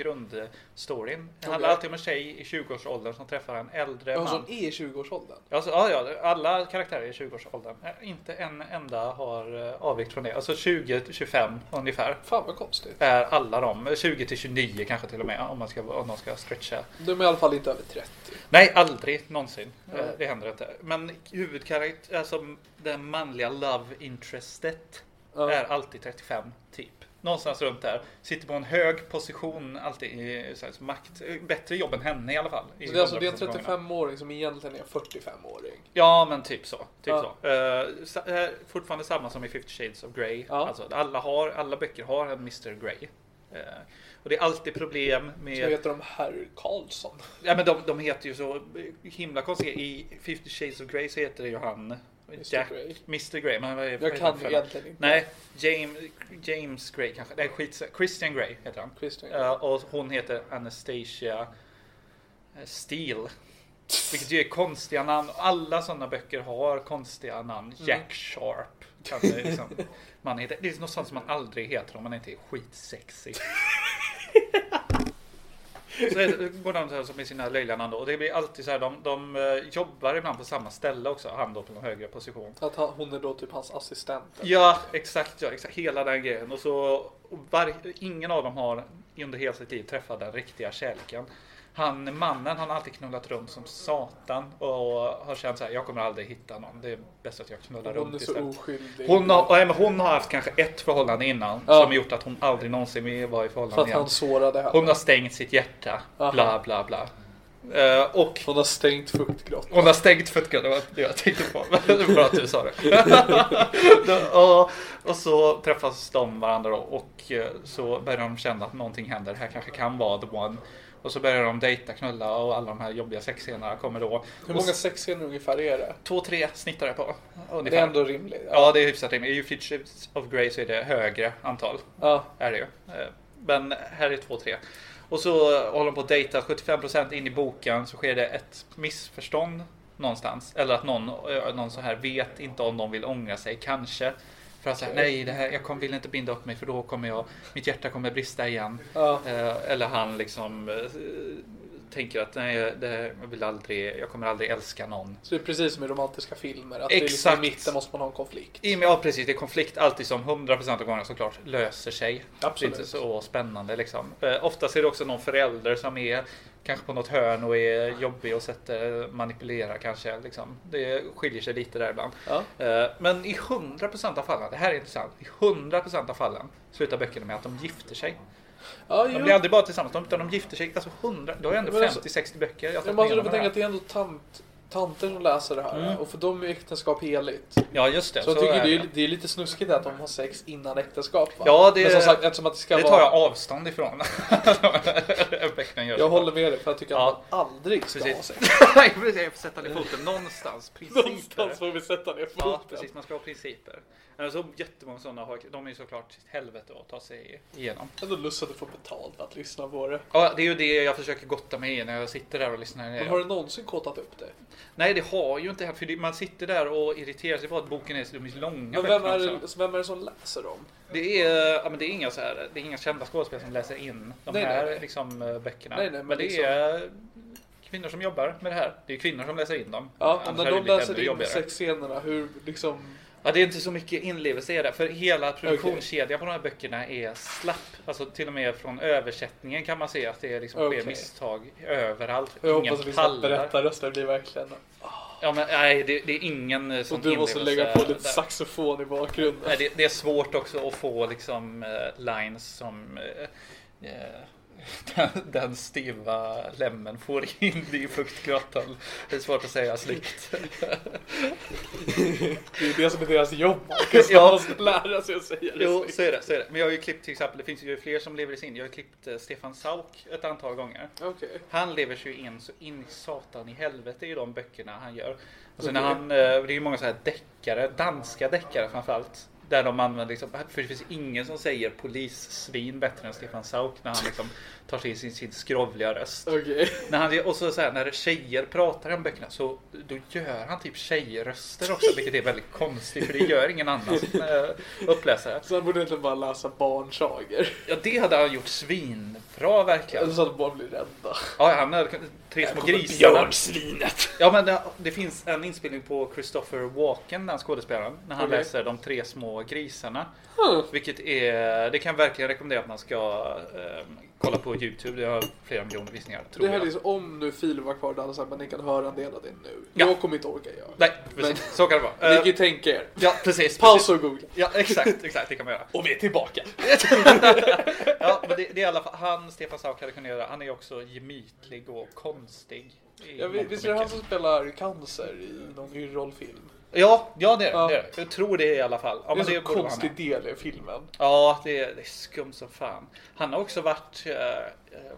S5: grundstoryn. Det handlar
S4: Okej.
S5: alltid om en tjej i 20-årsåldern som träffar en äldre
S4: Ja,
S5: man.
S4: som är i 20-årsåldern.
S5: Alltså, ja, ja, alla karaktärer i 20-årsåldern. Eh, Inte en enda har eh, avvikit från det. Alltså 20 till 25 ungefär
S4: Fan vad konstigt.
S5: är alla de. Eh, 20 till 29 kanske till och med om man ska, om man ska stretcha.
S4: De är i alla fall inte över 30.
S5: Nej, aldrig någonsin. Eh, Det händer inte. Men huvudkaraktär, alltså den manliga love interestet
S4: Ja.
S5: är alltid 35 typ. Någonstans runt där. Sitter på en hög position alltid i så här, makt. Eh, Bättre jobb än henne i alla fall. i
S4: Så det är alltså det är en
S5: 100% gångerna.
S4: 35-åring som egentligen är en 45-åring.
S5: Ja, men typ så. Typ
S4: Ja.
S5: så. Eh, sa- eh, fortfarande samma som i 50 Shades of Grey.
S4: Ja.
S5: Alltså, alla, har, alla böcker har en Mr Grey. Eh, och det är alltid problem
S4: Så
S5: med...
S4: heter de Harry Karlsson.
S5: Ja, men de, de heter ju så himla konstiga. I 50 Shades of Grey så heter det ju han...
S4: Mr.
S5: Jack,
S4: Grey.
S5: Mr Grey. Men vad är, vad
S4: Jag
S5: är
S4: kan
S5: det för-
S4: egentligen inte.
S5: Nej, James, James Grey kanske. Nej, skit, Christian Grey heter han.
S4: Christian Grey.
S5: Grey. och hon heter Anastasia eh, Steele. Vilket ju är konstiga namn. Alla sådana böcker har konstiga namn. Jack Sharp. Kan det, liksom, man heter, det är något sånt som man aldrig heter om man inte är skitsexig. Så är det- går de så här som med sina löjliga namn då. Och det blir alltid så här. De, de eh, jobbar ibland på samma ställe också. Han då på någon högre position.
S4: Att han, hon är då typ hans assistent.
S5: Ja, exakt. Ja, exakt. Hela den grejen. Och så, och var, ingen av dem har under hela sitt liv träffat den riktiga kärleken. han mannen han har alltid knullat runt som satan och har känt så här, jag kommer aldrig hitta någon. Det är bäst att jag knullar
S4: Hon är
S5: runt
S4: så
S5: istället.
S4: oskyldig.
S5: Hon har, nej, men hon har haft kanske ett förhållande innan
S4: Ja.
S5: som gjort att hon aldrig någonsin vill vara i
S4: För
S5: förhållande
S4: att
S5: igen.
S4: han sårade henne.
S5: Hon har stängt sitt hjärta. Bla bla bla. Eh, och
S4: Hon har stängt fuktgrottan.
S5: hon har stängt fötterna, det var det jag tänkte på. Det var bra att du sa det. och, och så träffas de varandra då, och eh, så börjar de känna att någonting händer. Det här kanske kan vara the one. Och så börjar de dejta, knulla och alla de här jobbiga sexscenerna kommer då.
S4: Hur
S5: Och
S4: många
S5: s-
S4: sexscener ungefär är det?
S5: Två, tre snittar jag på.
S4: Det är
S5: Ungefär.
S4: ändå rimligt. Ja.
S5: Ja, det är hyfsat rimligt. I Features of Grey så är det högre antal
S4: Ja.
S5: är det ju. Eh, Men här är 2-3. Och så håller de på att dejta. 75% in i boken så sker det ett missförstånd någonstans. Eller att någon, eh, någon så här vet inte om de vill ångra sig, kanske. För att säga nej, det här, jag kom, vill inte binda upp mig för då kommer jag, mitt hjärta kommer brista igen.
S4: Ja.
S5: Eh, Eller han liksom eh, tänker att nej, det, jag, vill aldrig, jag kommer aldrig älska någon.
S4: Så det är precis som i romantiska filmer. Att Det är liksom I
S5: Exakt.
S4: mitten måste man ha en konflikt.
S5: I och med, ja precis, det är konflikt alltid som 100% av gångerna såklart löser sig.
S4: Absolut.
S5: Det är inte så spännande liksom. Eh, oftast är det också någon förälder som är kanske på något hörn och är jobbig och sätter, manipulerar kanske. Liksom. Det skiljer sig lite där ibland.
S4: Ja.
S5: Eh, men i 100% av fallen, det här är intressant, i 100% av fallen slutar böckerna med att de gifter sig.
S4: Ja,
S5: De
S4: jo.
S5: blir aldrig bara tillsammans, de- utan de gifter sig. Alltså 100, då är det ändå
S4: Men alltså-
S5: 50-60 böcker. Jag har
S4: Men
S5: tagit
S4: man
S5: igenom
S4: skulle tänka
S5: här.
S4: att det är ändå tant, tanter som läser det här. Och för dem är äktenskap heligt. Så,
S5: Ja just det.
S4: jag tycker
S5: är
S4: det är, det är lite snuskigt att de har sex innan äktenskap. Va?
S5: Ja, det-
S4: Men som sagt, eftersom att det ska
S5: det tar
S4: vara...
S5: jag avstånd ifrån. Böckerna
S4: Jag
S5: gör så.
S4: håller med dig för jag tycker att
S5: Ja.
S4: man aldrig ska ha
S5: Precis.
S4: sex.
S5: Nej, precis. Jag får sätta ner foten någonstans. Principer.
S4: Någonstans får vi sätta ner foten.
S5: Ja, precis. Man ska ha principer. Alltså, jättemånga sådana har, de är ju såklart sitt helvete att ta sig igenom.
S4: Ändå lustigt att få betalt för att lyssna på det.
S5: Ja, det är ju det jag försöker gotta mig i när jag sitter där och lyssnar.
S4: Men har du någonsin kåtat upp dig?
S5: Nej, det har ju inte hänt. För det- man sitter där och irriterar sig på att boken är så de är så långa.
S4: Men vem
S5: böckerna
S4: är,
S5: också.
S4: det, vem är det som läser dem?
S5: Det är, ja, men det är inga så här, det är inga kända skådespelare som läser in de
S4: Nej,
S5: här
S4: nej, nej.
S5: Liksom, eh, böckerna.
S4: Nej, nej, men
S5: men det
S4: liksom-
S5: är kvinnor som jobbar med det här. Det är kvinnor som läser in dem.
S4: Ja, och
S5: Annars
S4: när
S5: hade det
S4: de
S5: blivit
S4: läser
S5: ännu
S4: in
S5: jobbigare.
S4: sexscenerna, hur liksom...
S5: Ja, det är inte så mycket inlevelse i det. För hela produktionskedjan på de här böckerna är slapp. Alltså till och med från översättningen kan man se att det är liksom
S4: Okej.
S5: sker misstag överallt.
S4: Jag
S5: ingen
S4: hoppas att liksom
S5: pallar.
S4: berättarrösten blir verkligen...
S5: Ja, men nej, det, det är ingen eh, som
S4: Och du måste
S5: inlevelse
S4: lägga på lite
S5: där.
S4: saxofon i bakgrunden.
S5: Nej, det, det är svårt också att få liksom eh, lines som eh, eh, den, den styva lämmen får in i fuktgrottan. Det är svårt att säga snyggt.
S4: Det är ju det som är deras jobb, Marcus.
S5: Ja.
S4: De måste lära sig att säga det
S5: Jo,
S4: snyggt.
S5: så är det, så är det. Men jag har ju klippt till exempel, det finns ju fler som lever sig in. Jag har klippt eh, Stefan Sauk ett antal gånger.
S4: Okej.
S5: Han lever sig ju in så in i satan i helvete i de böckerna han gör. Och sen när
S4: Okej.
S5: han, eh, det är ju många så här deckare, danska deckare framförallt. Där de använder liksom, för det finns ingen som säger polissvin bättre än Stefan Sauk när han liksom tar till sin, sin skrovliga röst.
S4: Okej.
S5: När han, och så, så här, när tjejer pratar om böckerna så då gör han typ tjejröster också vilket är väldigt konstigt för det gör ingen annan eh, uppläsare.
S4: Så han borde egentligen bara läsa barnsager.
S5: Ja det hade han gjort svinbra verkligen.
S4: Eller så att barn blir rädda.
S5: Ja, han hade kunnat- tre små grisar.
S4: Björnsvinet!
S5: Ja, men det, det finns en inspelning på Christopher Walken, den skådespelaren, när han
S4: Okej.
S5: läser De tre små grisarna. Vilket är, det kan jag verkligen rekommendera att man ska ehm, kolla på YouTube. Det har flera miljoner visningar, tror
S4: Det här
S5: jag.
S4: är liksom, om nu filen var kvar där alla sagt men ni kan höra en del av det nu.
S5: Ja.
S4: Jag kommer inte orka göra det.
S5: Nej, precis.
S4: Men-
S5: Så kan det vara.
S4: Ni
S5: Eh,
S4: kan ju tänka er.
S5: ja, precis.
S4: Paus
S5: precis.
S4: och googla.
S5: Ja, exakt, exakt, det kan man göra.
S4: Och vi är tillbaka.
S5: Ja, men det, det är i alla fall, han, Stefan Sauk, hade kunnat göra. Han är också gemytlig och konstig. i
S4: Ja, vi-
S5: mångt och
S4: visst är det han
S5: mycket.
S4: som spelar cancer i någon yrrolfilm?
S5: Ja, ja det är det.
S4: Ja.
S5: det, är det. Jag tror det i alla fall. Ja,
S4: Det är
S5: men
S4: en
S5: det
S4: så
S5: borde vara med.
S4: konstig del i filmen.
S5: Ja, det är, det är skumt som fan. Han har också varit eh, eh,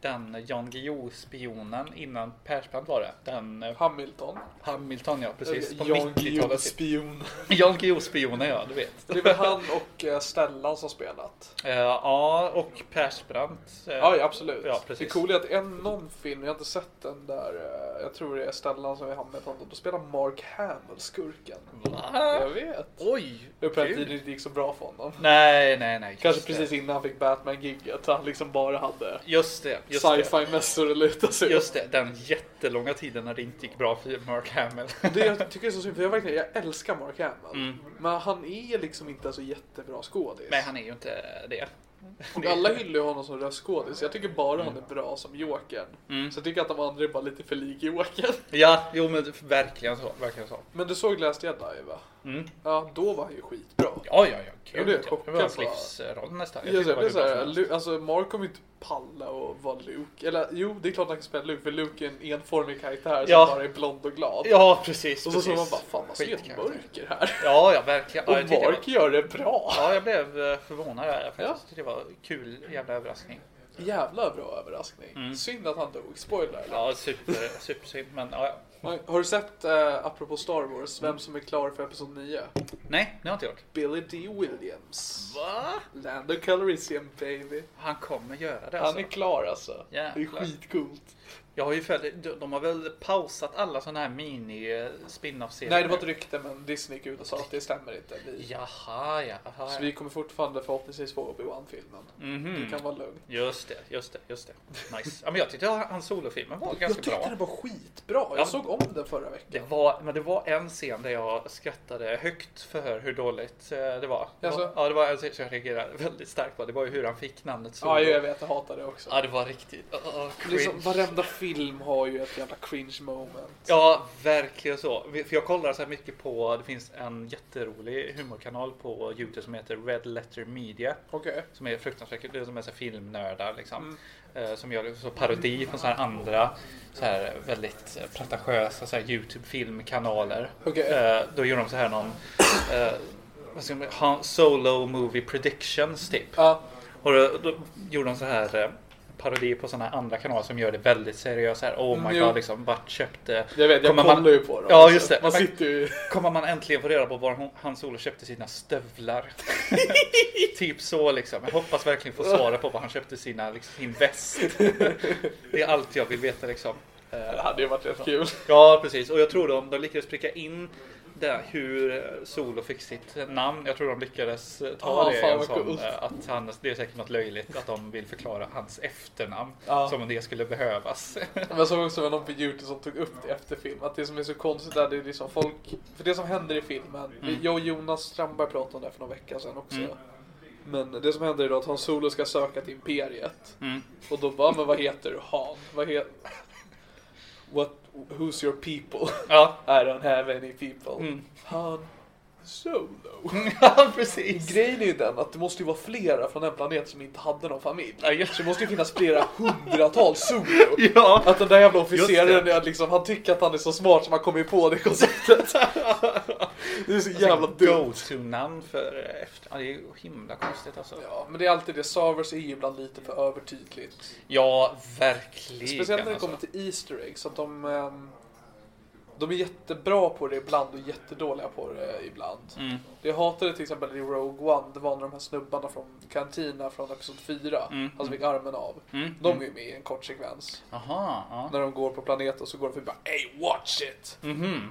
S5: den Jan Guillou-spionen innan Persbrandt var det. Den eh,
S4: Hamilton. Eh,
S5: Hamilton, ja precis. På
S4: Jan
S5: 90-talet.
S4: Guillou-spion.
S5: Jan Guillou-spionen, ja du vet.
S4: Det är väl han och eh, Stellan som spelat?
S5: Eh, ja, och Persbrandt. eh,
S4: Ja, ja absolut.
S5: Ja,
S4: det
S5: precis.
S4: coola är att en någon film, jag har inte sett den där, eh, jag tror det är Stellan som är Hamilton, då spelar Mark Hamill skurken.
S5: Va?
S4: Jag vet.
S5: Oj!
S4: Det var på den
S5: kul.
S4: tiden det inte gick så bra för honom.
S5: Nej, nej, nej. just
S4: Kanske
S5: det.
S4: precis innan han fick Batman-gigget, han liksom bara hade
S5: Just det. Just det.
S4: sci-fi-mässor att luta sig
S5: Just det, den jättelånga tiden när det inte gick bra för Mark Hamill.
S4: Det jag tycker är så synd, för jag, verkligen, jag
S5: Mm.
S4: älskar Mark Hamill. Men han är liksom inte så jättebra skådis.
S5: Men han är Mm. ju inte det.
S4: Och alla hyllar ju honom som röstskådis. Jag tycker bara han är bra som Jokern.
S5: Mm.
S4: Så jag tycker att de andra är bara lite för lik Jokern.
S5: Ja, jo men verkligen så. Verkligen så.
S4: Men du såg Last Jedi va? Ja, då var han ju skitbra.
S5: Mm. Ja, ja, ja.
S4: Jag
S5: Gud.
S4: blev
S5: ja. Det
S4: chockad
S5: var hans
S4: bara.
S5: livsroll nästan.
S4: Jag
S5: tyckte
S4: jag
S5: det
S4: blev
S5: var
S4: såhär,
S5: bra som
S4: Lu- alltså Mark kommer inte palla och vara Luke. Eller jo, det är klart han kan spela Luke, för Luke är en enformig karaktär
S5: Ja.
S4: som bara är blond och glad.
S5: Ja, precis.
S4: och så såg man
S5: precis.
S4: bara, fan vad snyggt
S5: Skitkaraktär.
S4: mörker här.
S5: Ja, ja, verkligen. Ja, jag
S4: Och
S5: tyckte det var-
S4: Mark gör det bra.
S5: Ja, jag blev eh, förvånad där faktiskt.
S4: Ja.
S5: Jag tyckte det var kul jävla överraskning.
S4: Jävla bra överraskning. Synd att han dog, spoiler.
S5: Ja, super, super men ja, ja.
S4: Har du sett, eh, apropå Star Wars, vem som är klar för Episod 9?
S5: Nej, det har jag inte gjort.
S4: Billy D. Williams.
S5: Va?
S4: Lando Calrissian baby.
S5: Han kommer göra det
S4: Han
S5: alltså.
S4: är klar alltså. Det är
S5: Jävlar.
S4: skitcoolt.
S5: Jag har ju följt, de- de har väl pausat alla sådana här mini eh, spin off serier
S4: Nej, det var ett rykte men Disney gick ut och sa att det stämmer inte. Vi
S5: Jaha, jaha.
S4: Så vi kommer fortfarande förhoppningsvis få Obi-Wan-filmen. Du kan vara lugn.
S5: Just det, just det, just det. Nice. ja, men jag tyckte hans solofilmen var
S4: Jag
S5: ganska
S4: tyckte
S5: bra.
S4: den var skitbra. Jag
S5: Ja.
S4: såg om den förra veckan.
S5: Det var, men det var en scen där jag skrattade högt för hur dåligt eh, det var.
S4: Jaså?
S5: Ja, det var en scen som jag reagerade väldigt starkt på. Det var ju hur han fick namnet Solo.
S4: Ja, jag vet. Jag hatar det också.
S5: Ja, det var riktigt... Oh, cringe.
S4: Liksom, varenda film har ju ett jävla cringe moment.
S5: Ja, verkligen så. Vi- För jag kollar så här mycket på, det finns en jätterolig humorkanal på Youtube som heter Red Letter Media.
S4: Okej.
S5: Som är fruktansvärt kul. Det är som är så här filmnördar liksom.
S4: Mm.
S5: Eh, Som gör så parodi på så här andra så här väldigt eh, pretentiösa så här Youtube-filmkanaler.
S4: Okej.
S5: Eh, Då gör de så här någon eh, vad ska man, Han Solo Movie Predictions typ.
S4: Ja.
S5: Och då, då gjorde de så här eh, parodi på sådana här andra kanaler som gör det väldigt seriöst. så här, Oh
S4: Mm,
S5: my
S4: jo.
S5: god, liksom, vart köpte...
S4: Jag vet, jag
S5: Kommer
S4: kollar
S5: man-
S4: ju på dem. alltså.
S5: Ja, just det.
S4: Man
S5: Men-
S4: sitter ju...
S5: Kommer man äntligen få reda på var hon- Han Solo köpte sina stövlar? typ så liksom. Jag hoppas verkligen få svara på var han köpte sina, liksom, sin väst. det är allt jag vill veta liksom. Eh,
S4: Det hade ju varit rätt kul.
S5: Ja, precis. Och jag tror de, de lyckades pricka in där hur Solo fick sitt namn. Jag tror de lyckades eh, ta
S4: Ah,
S5: det
S4: fan
S5: en
S4: vad
S5: sån,
S4: coolt.
S5: eh, att han, det är säkert något löjligt att de vill förklara hans efternamn
S4: Ja.
S5: som om det skulle behövas.
S4: Men Jag såg också någon på Youtube som tog upp det efter film. Att det som är så konstigt är det är liksom folk... För det som händer i filmen. Jag och Jonas Strandberg pratade om det här för några veckor sedan också. Men det som händer är då att Han Solo ska söka till Imperiet. Och då bara, men vad heter du? Han? Vad heter... What, who's your people?
S5: ja,
S4: I don't have any people. Han Solo.
S5: Mm. ja precis.
S4: Grejen är ju den att det måste ju vara flera från den planet som inte hade någon familj.
S5: Ja, just-
S4: Så det måste ju finnas flera hundratals Solo.
S5: Ja.
S4: Att den där jävla
S5: Just
S4: officeraren, är liksom, han tycker att han är så smart som han kommer på det konceptet. Det är så jävla dumt.
S5: Alltså, Go-to-namn för eh, efter... Ja, det är ju himla konstigt alltså. Ja,
S4: Ja, men det är alltid det. Savers är ju ibland lite för övertydligt.
S5: verkligen.
S4: Speciellt när det
S5: alltså.
S4: kommer till Easter eggs. Att de, ehm, de är jättebra på det ibland och jättedåliga på det ibland.
S5: Mm.
S4: Det jag hatade till exempel i Rogue One, det var när de här snubbarna från Cantina från Episod 4,
S5: Mm.
S4: han som fick armen av. De är ju med i en kort sekvens.
S5: Aha, ja.
S4: När de går på planeten så går de förbi bara Hey watch it!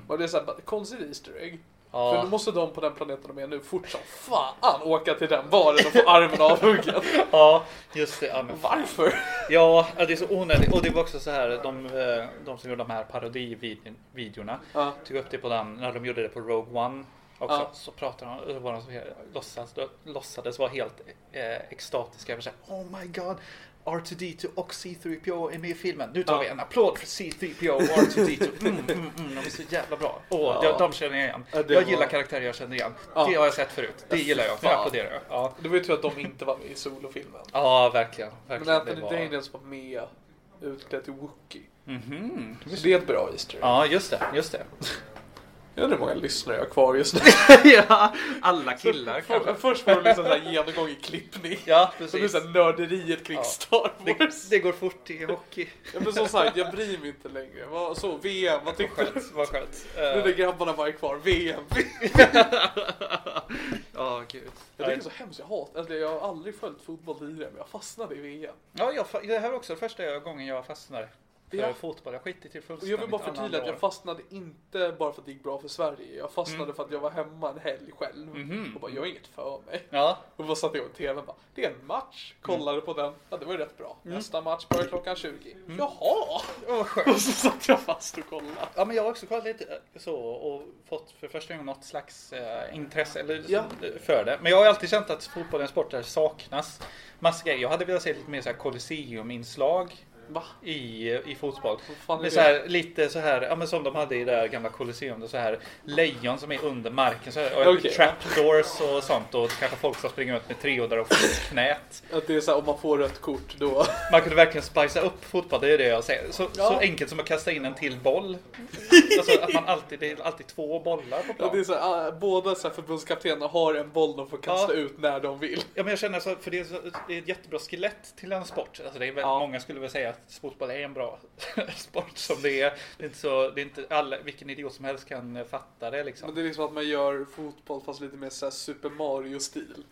S4: Och det är såhär, bara, konstigt Easter egg.
S5: Mhm. Ja.
S4: För nu måste de på den planeten de är nu fort som fan åka till den baren och få armen avhuggen.
S5: alltså. ja, just det. Ja, men
S4: Varför?
S5: Ja, ja, det är så onödigt. Och det var också så här, de, eh, de som gjorde de här parodivideorna
S4: Ja.
S5: tog upp det på den, när de gjorde det på Rogue One också,
S4: Ja.
S5: så pratade de, då var de så här, låtsas, då, låtsades vara helt eh, extatiska. över Så här, oh my god, R2D2 och C3PO är med i filmen. Nu tar vi en applåd för C3PO och R2D2. Mm, mm, mm, de är så jävla bra. Åh, jag, de känner jag igen.
S4: Ja, det
S5: jag
S4: var-
S5: gillar karaktärer jag känner igen. Det har jag sett förut. Det gillar jag. Nu
S4: fan.
S5: applåderar jag. Ja,
S4: Det var ju tur att de inte var med i solofilmen.
S5: ja verkligen.
S4: Men
S5: verkligen.
S4: Anthony
S5: Det var-
S4: Daniels var med utklädd till Wookie. Så det är ett bra Easter egg.
S5: Ja, just det. Just det.
S4: Jag undrar hur många lyssnare jag har kvar just nu.
S5: ja, alla killar kanske.
S4: För, först var det liksom så här genomgång i klippning.
S5: Ja,
S4: Så blir det
S5: precis.
S4: så här nörderiet kring Star
S5: Det,
S4: Wars.
S5: det går fort i hockey.
S4: Ja, men som sagt, jag bryr mig inte längre. Vad, så, VM, vad tyckte du?
S5: Skönt, vad skönt.
S4: Nu
S5: Eh,
S4: när grabbarna bara är kvar, VM.
S5: Ja, gud.
S4: Jag tycker det är så hemskt, jag hatar, alltså, jag har aldrig följt fotboll tidigare men jag fastnade i VM.
S5: Ja, jag, fa- det här var också första gången jag fastnade. För
S4: Ja.
S5: fotboll, jag skiter till
S4: Och
S5: fullständigt
S4: jag vill bara
S5: alla
S4: förtydliga att
S5: andra
S4: jag
S5: år. Mm.
S4: fastnade inte bara för att det gick bra för Sverige. Jag fastnade för att jag var hemma en helg själv. Och bara, jag har inget för mig.
S5: Mhm. Ja, Mm.
S4: Och bara satte igång tvn och bara, det är en match. Kollade på den. Ja, det var ju rätt bra. Nästa match börjar klockan 20.
S5: Mm.
S4: Jaha!
S5: vad skönt.
S4: Och så satt jag fast och kollade.
S5: Ja men jag har också kollat lite eh, så och fått för första gången något slags eh, intresse eller, eh,
S4: Ja.
S5: för det. Men jag har ju alltid känt att fotboll är en sport där det saknas massa grejer. Jag hade velat se lite mer så här Colosseum-inslag
S4: Va?
S5: i, i fotboll.
S4: fan är
S5: Med
S4: det?
S5: så här, lite så här, ja, men som de hade i det där gamla Colosseum, det så här lejon som är under marken. Så här, och
S4: Okej.
S5: Trapdoors och sånt och kanske folk som springer runt med treådar och knät.
S4: Att det är så här, om man får rött kort då.
S5: Man kunde verkligen spicea upp fotboll, det är det jag säger. Så,
S4: Ja.
S5: så enkelt som att kasta in en till boll. Alltså att man alltid, det är alltid två bollar på
S4: Ja. Det är
S5: plan.
S4: så här, ah, båda så här, förbundskaptenerna har en boll de får kasta
S5: Ja.
S4: ut när de vill.
S5: Ja, men jag känner så, för det är, så, det är ett jättebra skelett till en sport. Alltså det är väl,
S4: Ja.
S5: Många skulle väl säga att fotboll är en bra sport som det är. Det är inte så, det är inte alla, vilken idiot som helst kan eh, fatta det liksom.
S4: Men det är liksom att man gör fotboll fast lite mer så här Super Mario-stil.
S5: Ja,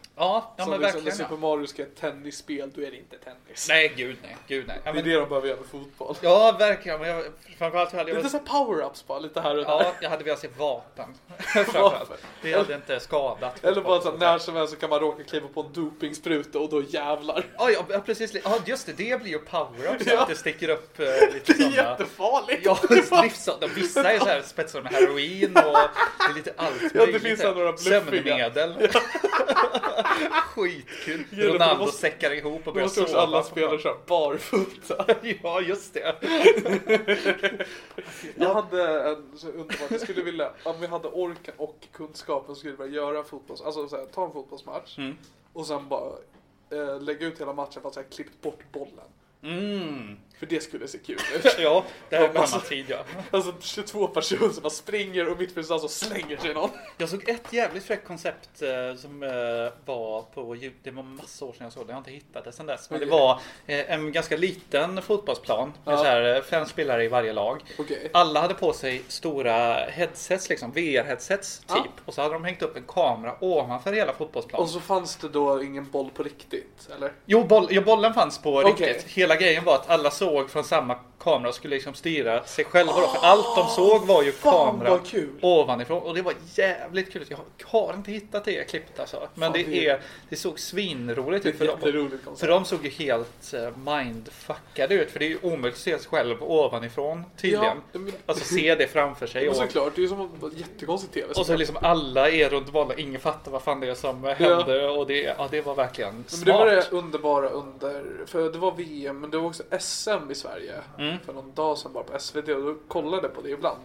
S5: ja
S4: Som
S5: men
S4: liksom,
S5: verkligen.
S4: När Super
S5: Ja.
S4: Mario ska göra ett tennisspel, då är det inte tennis.
S5: Nej, gud nej. Gud, nej. Ja,
S4: Det är
S5: men,
S4: det de behöver göra med fotboll.
S5: ja, verkligen. Men jag, framförallt hade jag,
S4: Lite så här power-ups bara, lite här och där.
S5: ja, jag hade velat se vapen. Framförallt. det hade inte skadat.
S4: Eller bara så här,
S5: fotboll.
S4: när som helst så kan man råka kliva på en dopingspruta och då jävlar.
S5: Ja, ja, ja, precis. Ja, just det. Det blir ju power-up så
S4: Ja.
S5: att det sticker upp eh,
S4: Det
S5: lite
S4: är
S5: sådana.
S4: jättefarligt!
S5: Ja,
S4: Det är fan-
S5: livsfarligt. De Vissa är så här spetsade med heroin och det är lite allt
S4: Ja, det
S5: möjligt
S4: finns
S5: här.
S4: några bluffiga.
S5: Sömnmedel. Skitkul.
S4: Ja, då
S5: Ronaldo
S4: måste-
S5: säckar ihop och
S4: Då
S5: börjar
S4: måste också
S5: sova.
S4: alla spelare köra barfota.
S5: Ja, just det.
S4: Jag hade en så underbart, jag skulle vilja, om vi hade orken och kunskapen så skulle jag vilja göra en fotbolls, alltså så här, ta en fotbollsmatch och sen bara eh, lägga ut hela matchen fast jag har klippt bort bollen.
S5: Mm.
S4: För det skulle se kul ut.
S5: Ja, det här är
S4: Ja,
S5: en
S4: men alltså-
S5: annan tid ja.
S4: Alltså 22 personer som bara springer och mittfältet och slänger sig i någon.
S5: Jag såg ett jävligt fräckt koncept eh, som eh, var på Ju- Det var massa år sedan jag såg det. Jag har inte hittat det sedan dess. Men det
S4: Okej.
S5: var eh, en ganska liten fotbollsplan. Med
S4: Ja.
S5: så här, eh, fem spelare i varje lag.
S4: Okej.
S5: Alla hade på sig stora headsets, liksom VR-headsets typ.
S4: Ja.
S5: Och så hade de hängt upp en kamera ovanför hela fotbollsplanen.
S4: Och så fanns det då ingen boll på riktigt, eller?
S5: Jo, boll, ja, bollen fanns på
S4: Okej.
S5: riktigt. Hela grejen var att alla såg från samma kamera och skulle liksom styra sig själva då. För allt de såg var ju
S4: Ah, fan,
S5: kameran
S4: vad kul.
S5: ovanifrån. Och det var jävligt kul. Jag har inte hittat det klippet alltså. Men
S4: Fan,
S5: det,
S4: det-
S5: är, det såg svinroligt
S4: Det är
S5: ut.
S4: ett
S5: För de,
S4: jätteroligt koncept.
S5: för de såg ju helt eh, mindfuckade ut. För det är ju omöjligt att se sig själv ovanifrån tydligen.
S4: Ja, men-
S5: Alltså se det framför sig.
S4: Men
S5: Och,
S4: såklart, det är ju som en jättekonstig tv.
S5: och så liksom alla är runt bollen. Ingen fattar vad fan det är som händer. Och det, ja, det var verkligen
S4: Men
S5: smart.
S4: det var det underbara under, för det var VM men det var också SM i Sverige
S5: Mm.
S4: för någon dag sedan bara på SVT och då kollade jag på det ibland.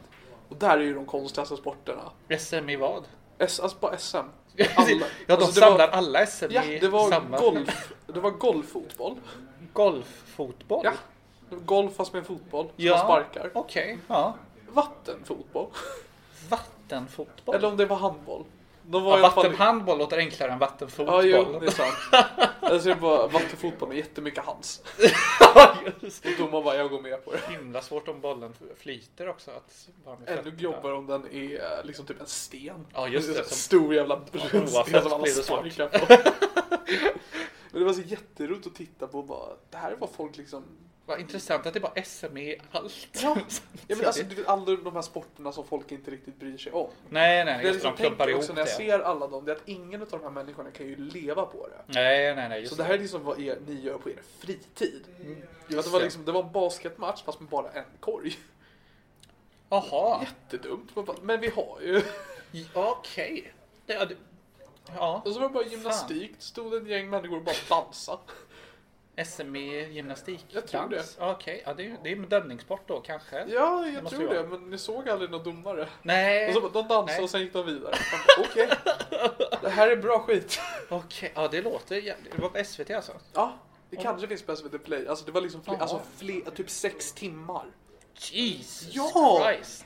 S4: Och där är ju de konstigaste sporterna.
S5: SM i vad?
S4: S, alltså bara SM. Alla.
S5: Ja, de
S4: Alltså, det
S5: samlar
S4: var,
S5: alla SM
S4: Ja,
S5: i
S4: det var
S5: samma...
S4: golf. Det var golffotboll.
S5: Golffotboll?
S4: Ja. Det var Golf fast med en fotboll som
S5: Ja,
S4: man sparkar.
S5: Okej, ja.
S4: Vattenfotboll.
S5: Vattenfotboll?
S4: Eller om det var handboll. De var
S5: ja,
S4: i alla fall-
S5: vattenhandboll låter enklare än
S4: Ja,
S5: vattenfotboll.
S4: jo, det är sant. Alltså, det är bara vattenfotboll med jättemycket hands.
S5: Just det.
S4: Domaren bara, jag går med på det.
S5: Himla svårt om bollen flyter också. Att vara med
S4: Ännu
S5: fötterna.
S4: jobbigare om den är liksom typ en sten.
S5: Ja, just det,
S4: En
S5: som-
S4: stor jävla brun sten
S5: oavsett
S4: som alla
S5: blir det svårt.
S4: sparkar på. Men det var så jätteroligt att titta på och bara, det här var folk liksom...
S5: Vad intressant att det är bara SM i allt.
S4: Ja, ja men alltså du vet alla de här sporterna som folk inte riktigt bryr sig om.
S5: nej, nej,
S4: Det jag
S5: just det.
S4: liksom
S5: De klumpar
S4: tänker
S5: ihop
S4: också
S5: det. Mm.
S4: när jag ser alla dem, det är att ingen av de här människorna kan ju leva på det.
S5: Nej, nej, nej. Just
S4: Så det här är liksom vad er, ni gör på er fritid. Att det, var
S5: Mm. det.
S4: liksom, det var en basketmatch fast med bara en korg.
S5: Jaha,
S4: Jättedumt. Man bara, Men vi har ju...
S5: okej. Det- Ja, det- ja,
S4: Och så var det bara gymnastik, det stod en gäng människor och bara dansa.
S5: SM i gymnastik.
S4: Jag tror
S5: dans. Ja, Okej, ja, det är ju det är en bedömningssport då kanske.
S4: Ja, jag
S5: måste
S4: tror
S5: ju
S4: det,
S5: vara.
S4: men ni såg aldrig någon domare.
S5: Nej.
S4: Och så, bara, de dansade
S5: Nej.
S4: och sen gick de vidare. Man bara, Okej, det här är bra skit.
S5: Okej, ja det låter jävligt. Det var på SVT alltså?
S4: Ja, det kanske finns på SVT Play. Alltså det var liksom fler,
S5: Jaha.
S4: alltså fler, typ sex timmar.
S5: Jesus
S4: Ja!
S5: Christ!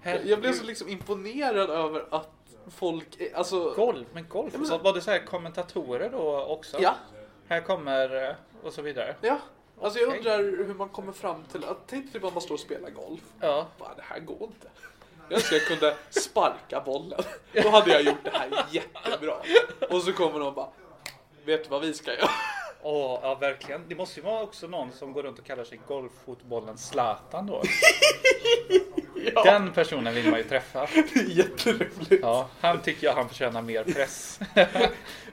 S5: Herregud.
S4: Jag blev så liksom imponerad över att folk, är- alltså,
S5: Golf, men golf?
S4: men så-
S5: Var det så här kommentatorer då också?
S4: Ja.
S5: Här kommer eh, och så vidare.
S4: ja. Alltså jag
S5: Okej.
S4: undrar hur man kommer fram till att, tänk typ om man står och spelar golf.
S5: Ja.
S4: Bara, det här går inte. Jag önskar jag kunde sparka bollen. Då hade jag gjort det här jättebra. Och så kommer de bara, vet du vad vi ska göra?
S5: åh, ja verkligen. Det måste ju vara också någon som går runt och kallar sig golffotbollen Zlatan då. Den personen vill man ju träffa.
S4: Det är jätteroligt.
S5: Ja, han tycker jag han förtjänar mer press.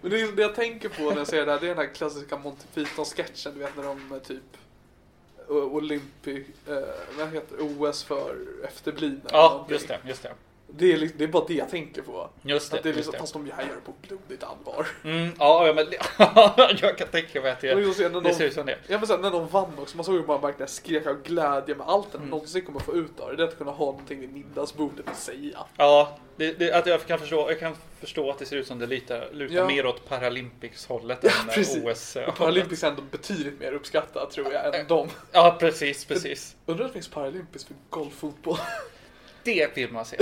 S4: Men det, det jag tänker på när jag ser det här, det är den här klassiska Monty Python-sketchen, du vet när de eh, typ o- Olympi, eh, vad heter det? OS för efterblivna. eller
S5: Ja,
S4: någonting.
S5: just det, just det.
S4: Det är, li- det är bara det jag tänker på.
S5: Just det,
S4: att det är
S5: just
S4: liksom,
S5: det.
S4: Fast de här gör det på blodigt allvar.
S5: Mm, ja, ja, men jag kan tänka mig att
S4: Och liksom
S5: det,
S4: sen när
S5: det
S4: de-
S5: ser ut som det.
S4: Ja men sen när de vann också, man såg hur man verkligen skrek av glädje med allt
S5: Mm.
S4: den någonsin kommer få ut av det. Det är att kunna ha någonting vid middagsbordet att säga.
S5: Ja, det, det, att jag, kan förstå, jag kan förstå att det ser ut som det lutar, lutar
S4: Ja.
S5: mer åt Paralympics-hållet än E.
S4: precis.
S5: OS.
S4: Och Paralympics är ändå betydligt mer uppskattat tror jag än dem.
S5: Ja, precis, precis.
S4: Undrar om det finns Paralympics för golffotboll?
S5: Det vill man se.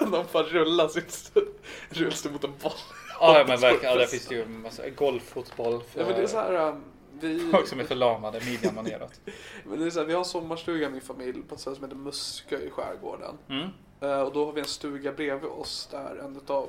S4: De bara rullar sitt rullstol mot en boll.
S5: Ja, men verkligen. Ja, där finns det ju en massa golffotboll för
S4: Ja, men det är så här, um, vi,
S5: folk som är förlamade, midjan och neråt.
S4: men det är så här, vi har sommarstuga i min familj på ett ställe som heter Muskö i skärgården.
S5: Mm.
S4: Eh, och då har vi en stuga bredvid oss där en av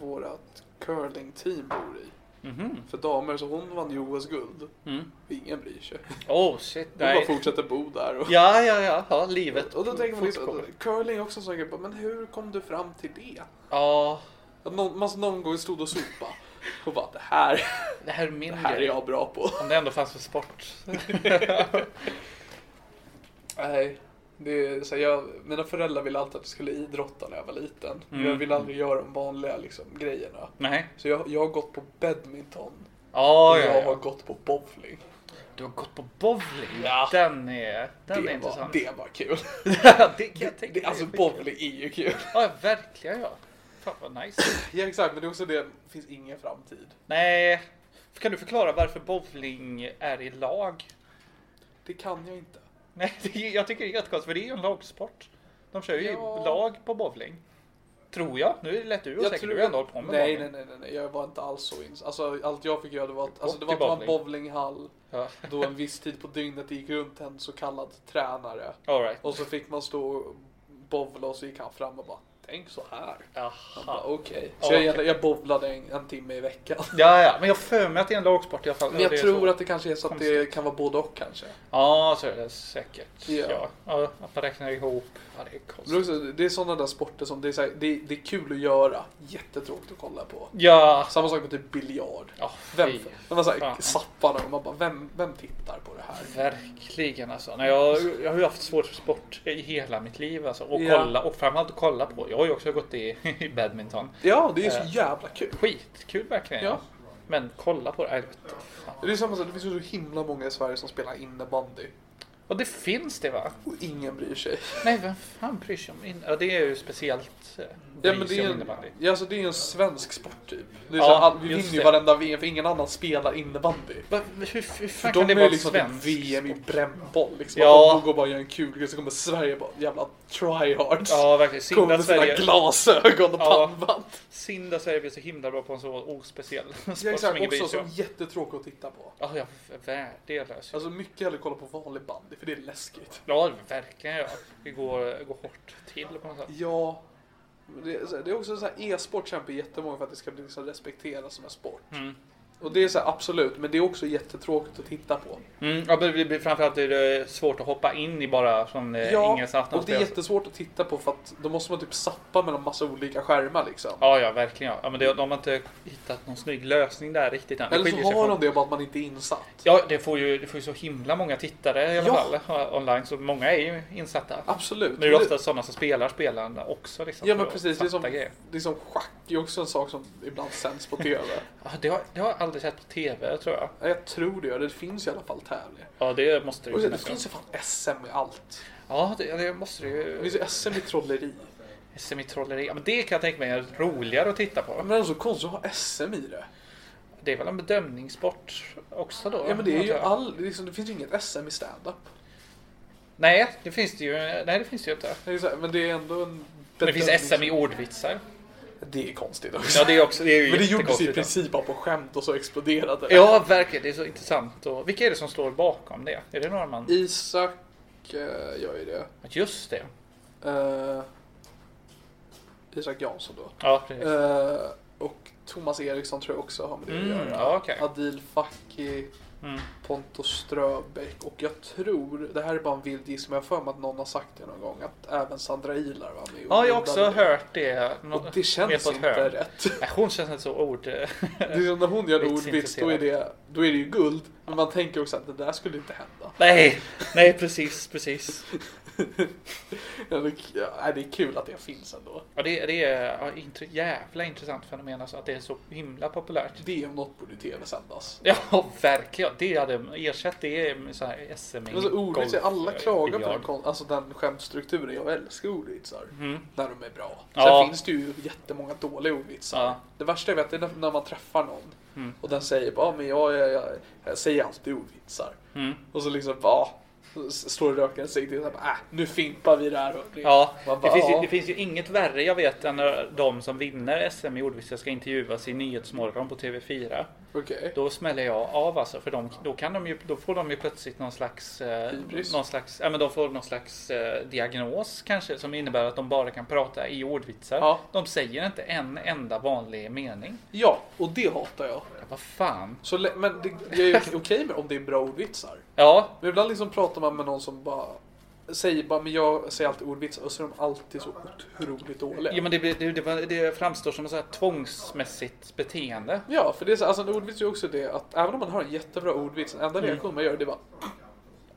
S4: vårat curlingteam bor i.
S5: Mhm.
S4: För damer, så hon vann ju OS-guld.
S5: Mm.
S4: Ingen bryr sig. Hon
S5: Oh shit,
S4: bara
S5: nej.
S4: fortsätter bo där. Och,
S5: Ja, ja, ja, ja, livet.
S4: och då tänker man liksom,
S5: Fotboll.
S4: curling är också en sån grej, bara, men hur kom du fram till det?
S5: Ja,
S4: Att någon, man någon gång stod och sopa och bara det här,
S5: det här är min
S4: det här är
S5: grej.
S4: jag bra på.
S5: Om det ändå fanns för sport.
S4: Nej, det är, så här, jag, mina föräldrar ville alltid att jag skulle idrotta när jag var liten.
S5: Mm.
S4: Jag ville aldrig göra de vanliga liksom, grejerna.
S5: nej.
S4: Så jag, jag har gått på badminton.
S5: Ja,
S4: och
S5: ja,
S4: jag har
S5: ja.
S4: gått på bowling.
S5: Du har gått på bowling. Den är, den är
S4: Det var,
S5: intressant.
S4: det var kul.
S5: det kan jag tänka
S4: Det,
S5: mig.
S4: alltså bowling är ju kul.
S5: Ja, verkligen ja. Fan vad nice.
S4: Ja exakt, men det är också det, det finns ingen framtid.
S5: Nej. Kan du förklara varför bowling är i lag?
S4: Det kan jag inte.
S5: Nej, det, är- jag tycker det är jättekonstigt för det är ju en lagsport. De kör ju i
S4: Ja.
S5: lag på bowling. Tror jag. Nu är det lätt du och säkert du har ändå hållit på med
S4: nej, nej,
S5: bowling.
S4: nej, nej, nej, jag var inte alls så ins. Alltså allt jag fick göra det var att, alltså, det
S5: till
S4: var att det var en
S5: bowling.
S4: bowlinghall.
S5: Ja.
S4: då en viss tid på dygnet gick runt en så kallad tränare.
S5: All right.
S4: Och så fick man stå och bovla och så gick han fram och bara Tänk så här. Han bara,
S5: Jaha.
S4: Okej. Så jag,
S5: Okej.
S4: egentligen- jag bovlade en, en timme i veckan.
S5: Ja, ja, men jag har för mig att det är en lagsport i alla fall.
S4: Men jag
S5: Det är
S4: tror
S5: så.
S4: att det kanske är så att det
S5: konstigt.
S4: kan vara både och kanske.
S5: Ja, så är det säkert.
S4: Ja.
S5: Ja. ja. Att man räknar ihop. Ja, det är
S4: Men
S5: konstigt.
S4: också, det är sådana där sporter som det är, så här, det, det är kul att göra, jättetråkigt att kolla på.
S5: Ja.
S4: Samma sak med typ biljard.
S5: Ja,
S4: Vem,
S5: fy.
S4: när man såhär
S5: fan.
S4: zappar och man bara, vem, vem tittar på det här?
S5: Verkligen alltså. Nej, jag, jag har ju haft svårt för sport i hela mitt liv alltså. Och
S4: Ja.
S5: kolla och framförallt att kolla på. Jag har ju också gått i, i badminton.
S4: Ja, det är så
S5: Eh.
S4: jävla kul.
S5: Skitkul verkligen.
S4: Ja.
S5: Men kolla på det. Nej, vet du, fan.
S4: Det är samma sak, det finns ju så himla många i Sverige som spelar innebandy.
S5: Och det finns det va?
S4: Och ingen bryr sig.
S5: Nej, vem fan bryr sig om in... Ja, det är ju speciellt. eh,
S4: Ja, men
S5: bryr
S4: det,
S5: sig
S4: är
S5: om
S4: en,
S5: innebandy.
S4: ja, alltså, det är ju en svensk sport typ. Det är
S5: Ja,
S4: så här, all- vi
S5: just
S4: vinner ju
S5: det.
S4: varenda VM för ingen annan spelar innebandy.
S5: Va, hur, hur fan
S4: För
S5: kan
S4: de
S5: det
S4: är ju
S5: vara
S4: liksom typ
S5: svenskt?
S4: VM i brännboll. Liksom.
S5: Ja.
S4: Att de går och bara gör en kul grej så kommer Sverige bara jävla tryhards.
S5: Ja,
S4: kommer
S5: verkligen. Synd
S4: med
S5: att
S4: sina
S5: Sverige,
S4: glasögon och
S5: Ja.
S4: pannband.
S5: synd att Sverige blir så himla bra på en så ospeciell sport
S4: Ja,
S5: som
S4: exakt,
S5: ingen bryr
S4: också
S5: sig
S4: som
S5: om.
S4: jättetråkigt att titta på.
S5: Ja, jag värdelös.
S4: Alltså mycket hellre kolla på vanlig bandy för det är läskigt.
S5: Ja, verkligen ja. Det går, går hårt till på något sätt.
S4: Ja. men Det är, så här- det är också så här, e-sport kämpar jättemånga för att det ska bli liksom respekterat som en sport. Och det är så här, absolut, men det är också jättetråkigt att titta på.
S5: Mm, ja, men det blir framförallt är det svårt att hoppa in i bara från eh, ingenstans.
S4: och det är jättesvårt att titta på för att då måste man typ sappa mellan massa olika skärmar liksom.
S5: Ja, ja, verkligen. Ja. Ja, men det, de har inte hittat någon snygg lösning där riktigt än. Det
S4: Eller så
S5: skiljer sig
S4: har
S5: från-
S4: de det bara att man inte är insatt.
S5: Ja, det får ju det får ju så himla många tittare i alla
S4: Ja.
S5: fall ja, online, så många är ju insatta.
S4: Absolut.
S5: Nu är det ofta sådana som spelar spelarna också. Liksom,
S4: Ja
S5: för
S4: men
S5: att
S4: precis, det är, som,
S5: fatta grejer.
S4: det är som schack, det är också en sak som ibland sänds på TV.
S5: Ja, det, har, det har jag aldrig sett på TV tror jag.
S4: Ja, jag tror det gör det, det finns i alla fall tävlingar.
S5: Ja, det måste det
S4: Och
S5: ju
S4: det det
S5: finnas.
S4: finns ju fan SM i allt.
S5: Ja, det, det måste det
S4: Det
S5: ju.
S4: finns ju SM i trolleri.
S5: Semitrolleri. Ja, men det kan jag tänka mig är roligare att titta på.
S4: Men det är så konstigt att ha SM i det.
S5: Det är väl en bedömningssport också då?
S4: Ja men det är ju
S5: antar jag.
S4: all, liksom, det finns ju inget SM i standup.
S5: Nej, det finns det ju, nej, det finns det ju inte.
S4: Det är så här, Men det är ändå en...
S5: Men det finns SM i ordvitsar.
S4: Det är konstigt också.
S5: Ja, det är också. Det är ju
S4: Men det gjordes ju i
S5: jättekonstigt.
S4: princip bara på skämt och så exploderade det.
S5: Ja, verkligen. Det är så intressant. Och, vilka är det som står bakom det? Är det norrman?
S4: Isak eh, gör ju det.
S5: Just det.
S4: Eh, Isak Jansson då.
S5: Ja, precis.
S4: Eh, Och Thomas Eriksson tror jag också har med det
S5: Mm,
S4: att göra.
S5: ja, okej.
S4: Adil Fakhi,
S5: Mm.
S4: Pontus Ströbeck och jag tror, det här är bara en vild gissning, men jag har för mig att någon har sagt det någon gång, att även Sandra Ilar var med. och
S5: Ja, jag
S4: bildade
S5: har också
S4: det.
S5: hört det. Nå-
S4: Och det
S5: mer
S4: känns
S5: på ett
S4: inte
S5: hörn.
S4: rätt.
S5: Nej, hon känns inte så ord...
S4: Det är som när hon gör en ordvits, då är,
S5: Vitsintresserad.
S4: det, då är det ju guld. Men man tänker också att det där skulle inte hända.
S5: nej, nej precis, precis.
S4: Ja, det- ja, det är kul att det finns ändå.
S5: Ja, det, det är ja, intr- jävla intressant fenomen alltså, att det är så himla populärt.
S4: Det om något borde tv-sändas.
S5: Ja, verkligen. Det hade ersatt det med så här SM
S4: Alltså, ordvitsar, alla
S5: eh,
S4: klagar på den,
S5: biljard.
S4: kon- alltså, den skämtstrukturen. Jag älskar ordvitsar. När de är bra. Sen
S5: Mm. Ja.
S4: finns det ju jättemånga dåliga ordvitsar.
S5: Ja. Mm.
S4: Det värsta jag vet är när, när man träffar någon. Och den säger bara, "Ah, men jag, jag, jag, jag säger alltid ordvitsar.
S5: Mm.
S4: Och så liksom, va? Står rökaren sig till och säger, äh, nu fimpar vi det här. hörni."
S5: Ja,
S4: Man
S5: det
S4: bara,
S5: finns, ju,
S4: "Ja."
S5: det finns ju inget värre jag vet än när de som vinner SM i ordvitsar ska intervjuas i Nyhetsmorgon på TV4.
S4: Okej.
S5: Då smäller jag av alltså, för de, då, kan de ju, då får de ju plötsligt någon slags... Eh,
S4: Hybris.
S5: någon slags, ja, men de får någon slags eh, diagnos kanske som innebär att de bara kan prata i ordvitsar.
S4: Ja.
S5: De säger inte en enda vanlig mening.
S4: Ja, och det hatar jag.
S5: Ja, vad fan?
S4: Så, lä- men det, jag är ju okej med om det är bra ordvitsar.
S5: Ja,
S4: Men ibland liksom pratar man med någon som bara säger bara, men jag säger alltid ordvitsar och så är de alltid så otroligt dåliga.
S5: ja men det, blir- det, det, det framstår som ett så här tvångsmässigt beteende.
S4: Ja, för det är så, alltså en ordvits är ju också det att även om man har en jättebra ordvits, den enda reaktion man gör det är bara,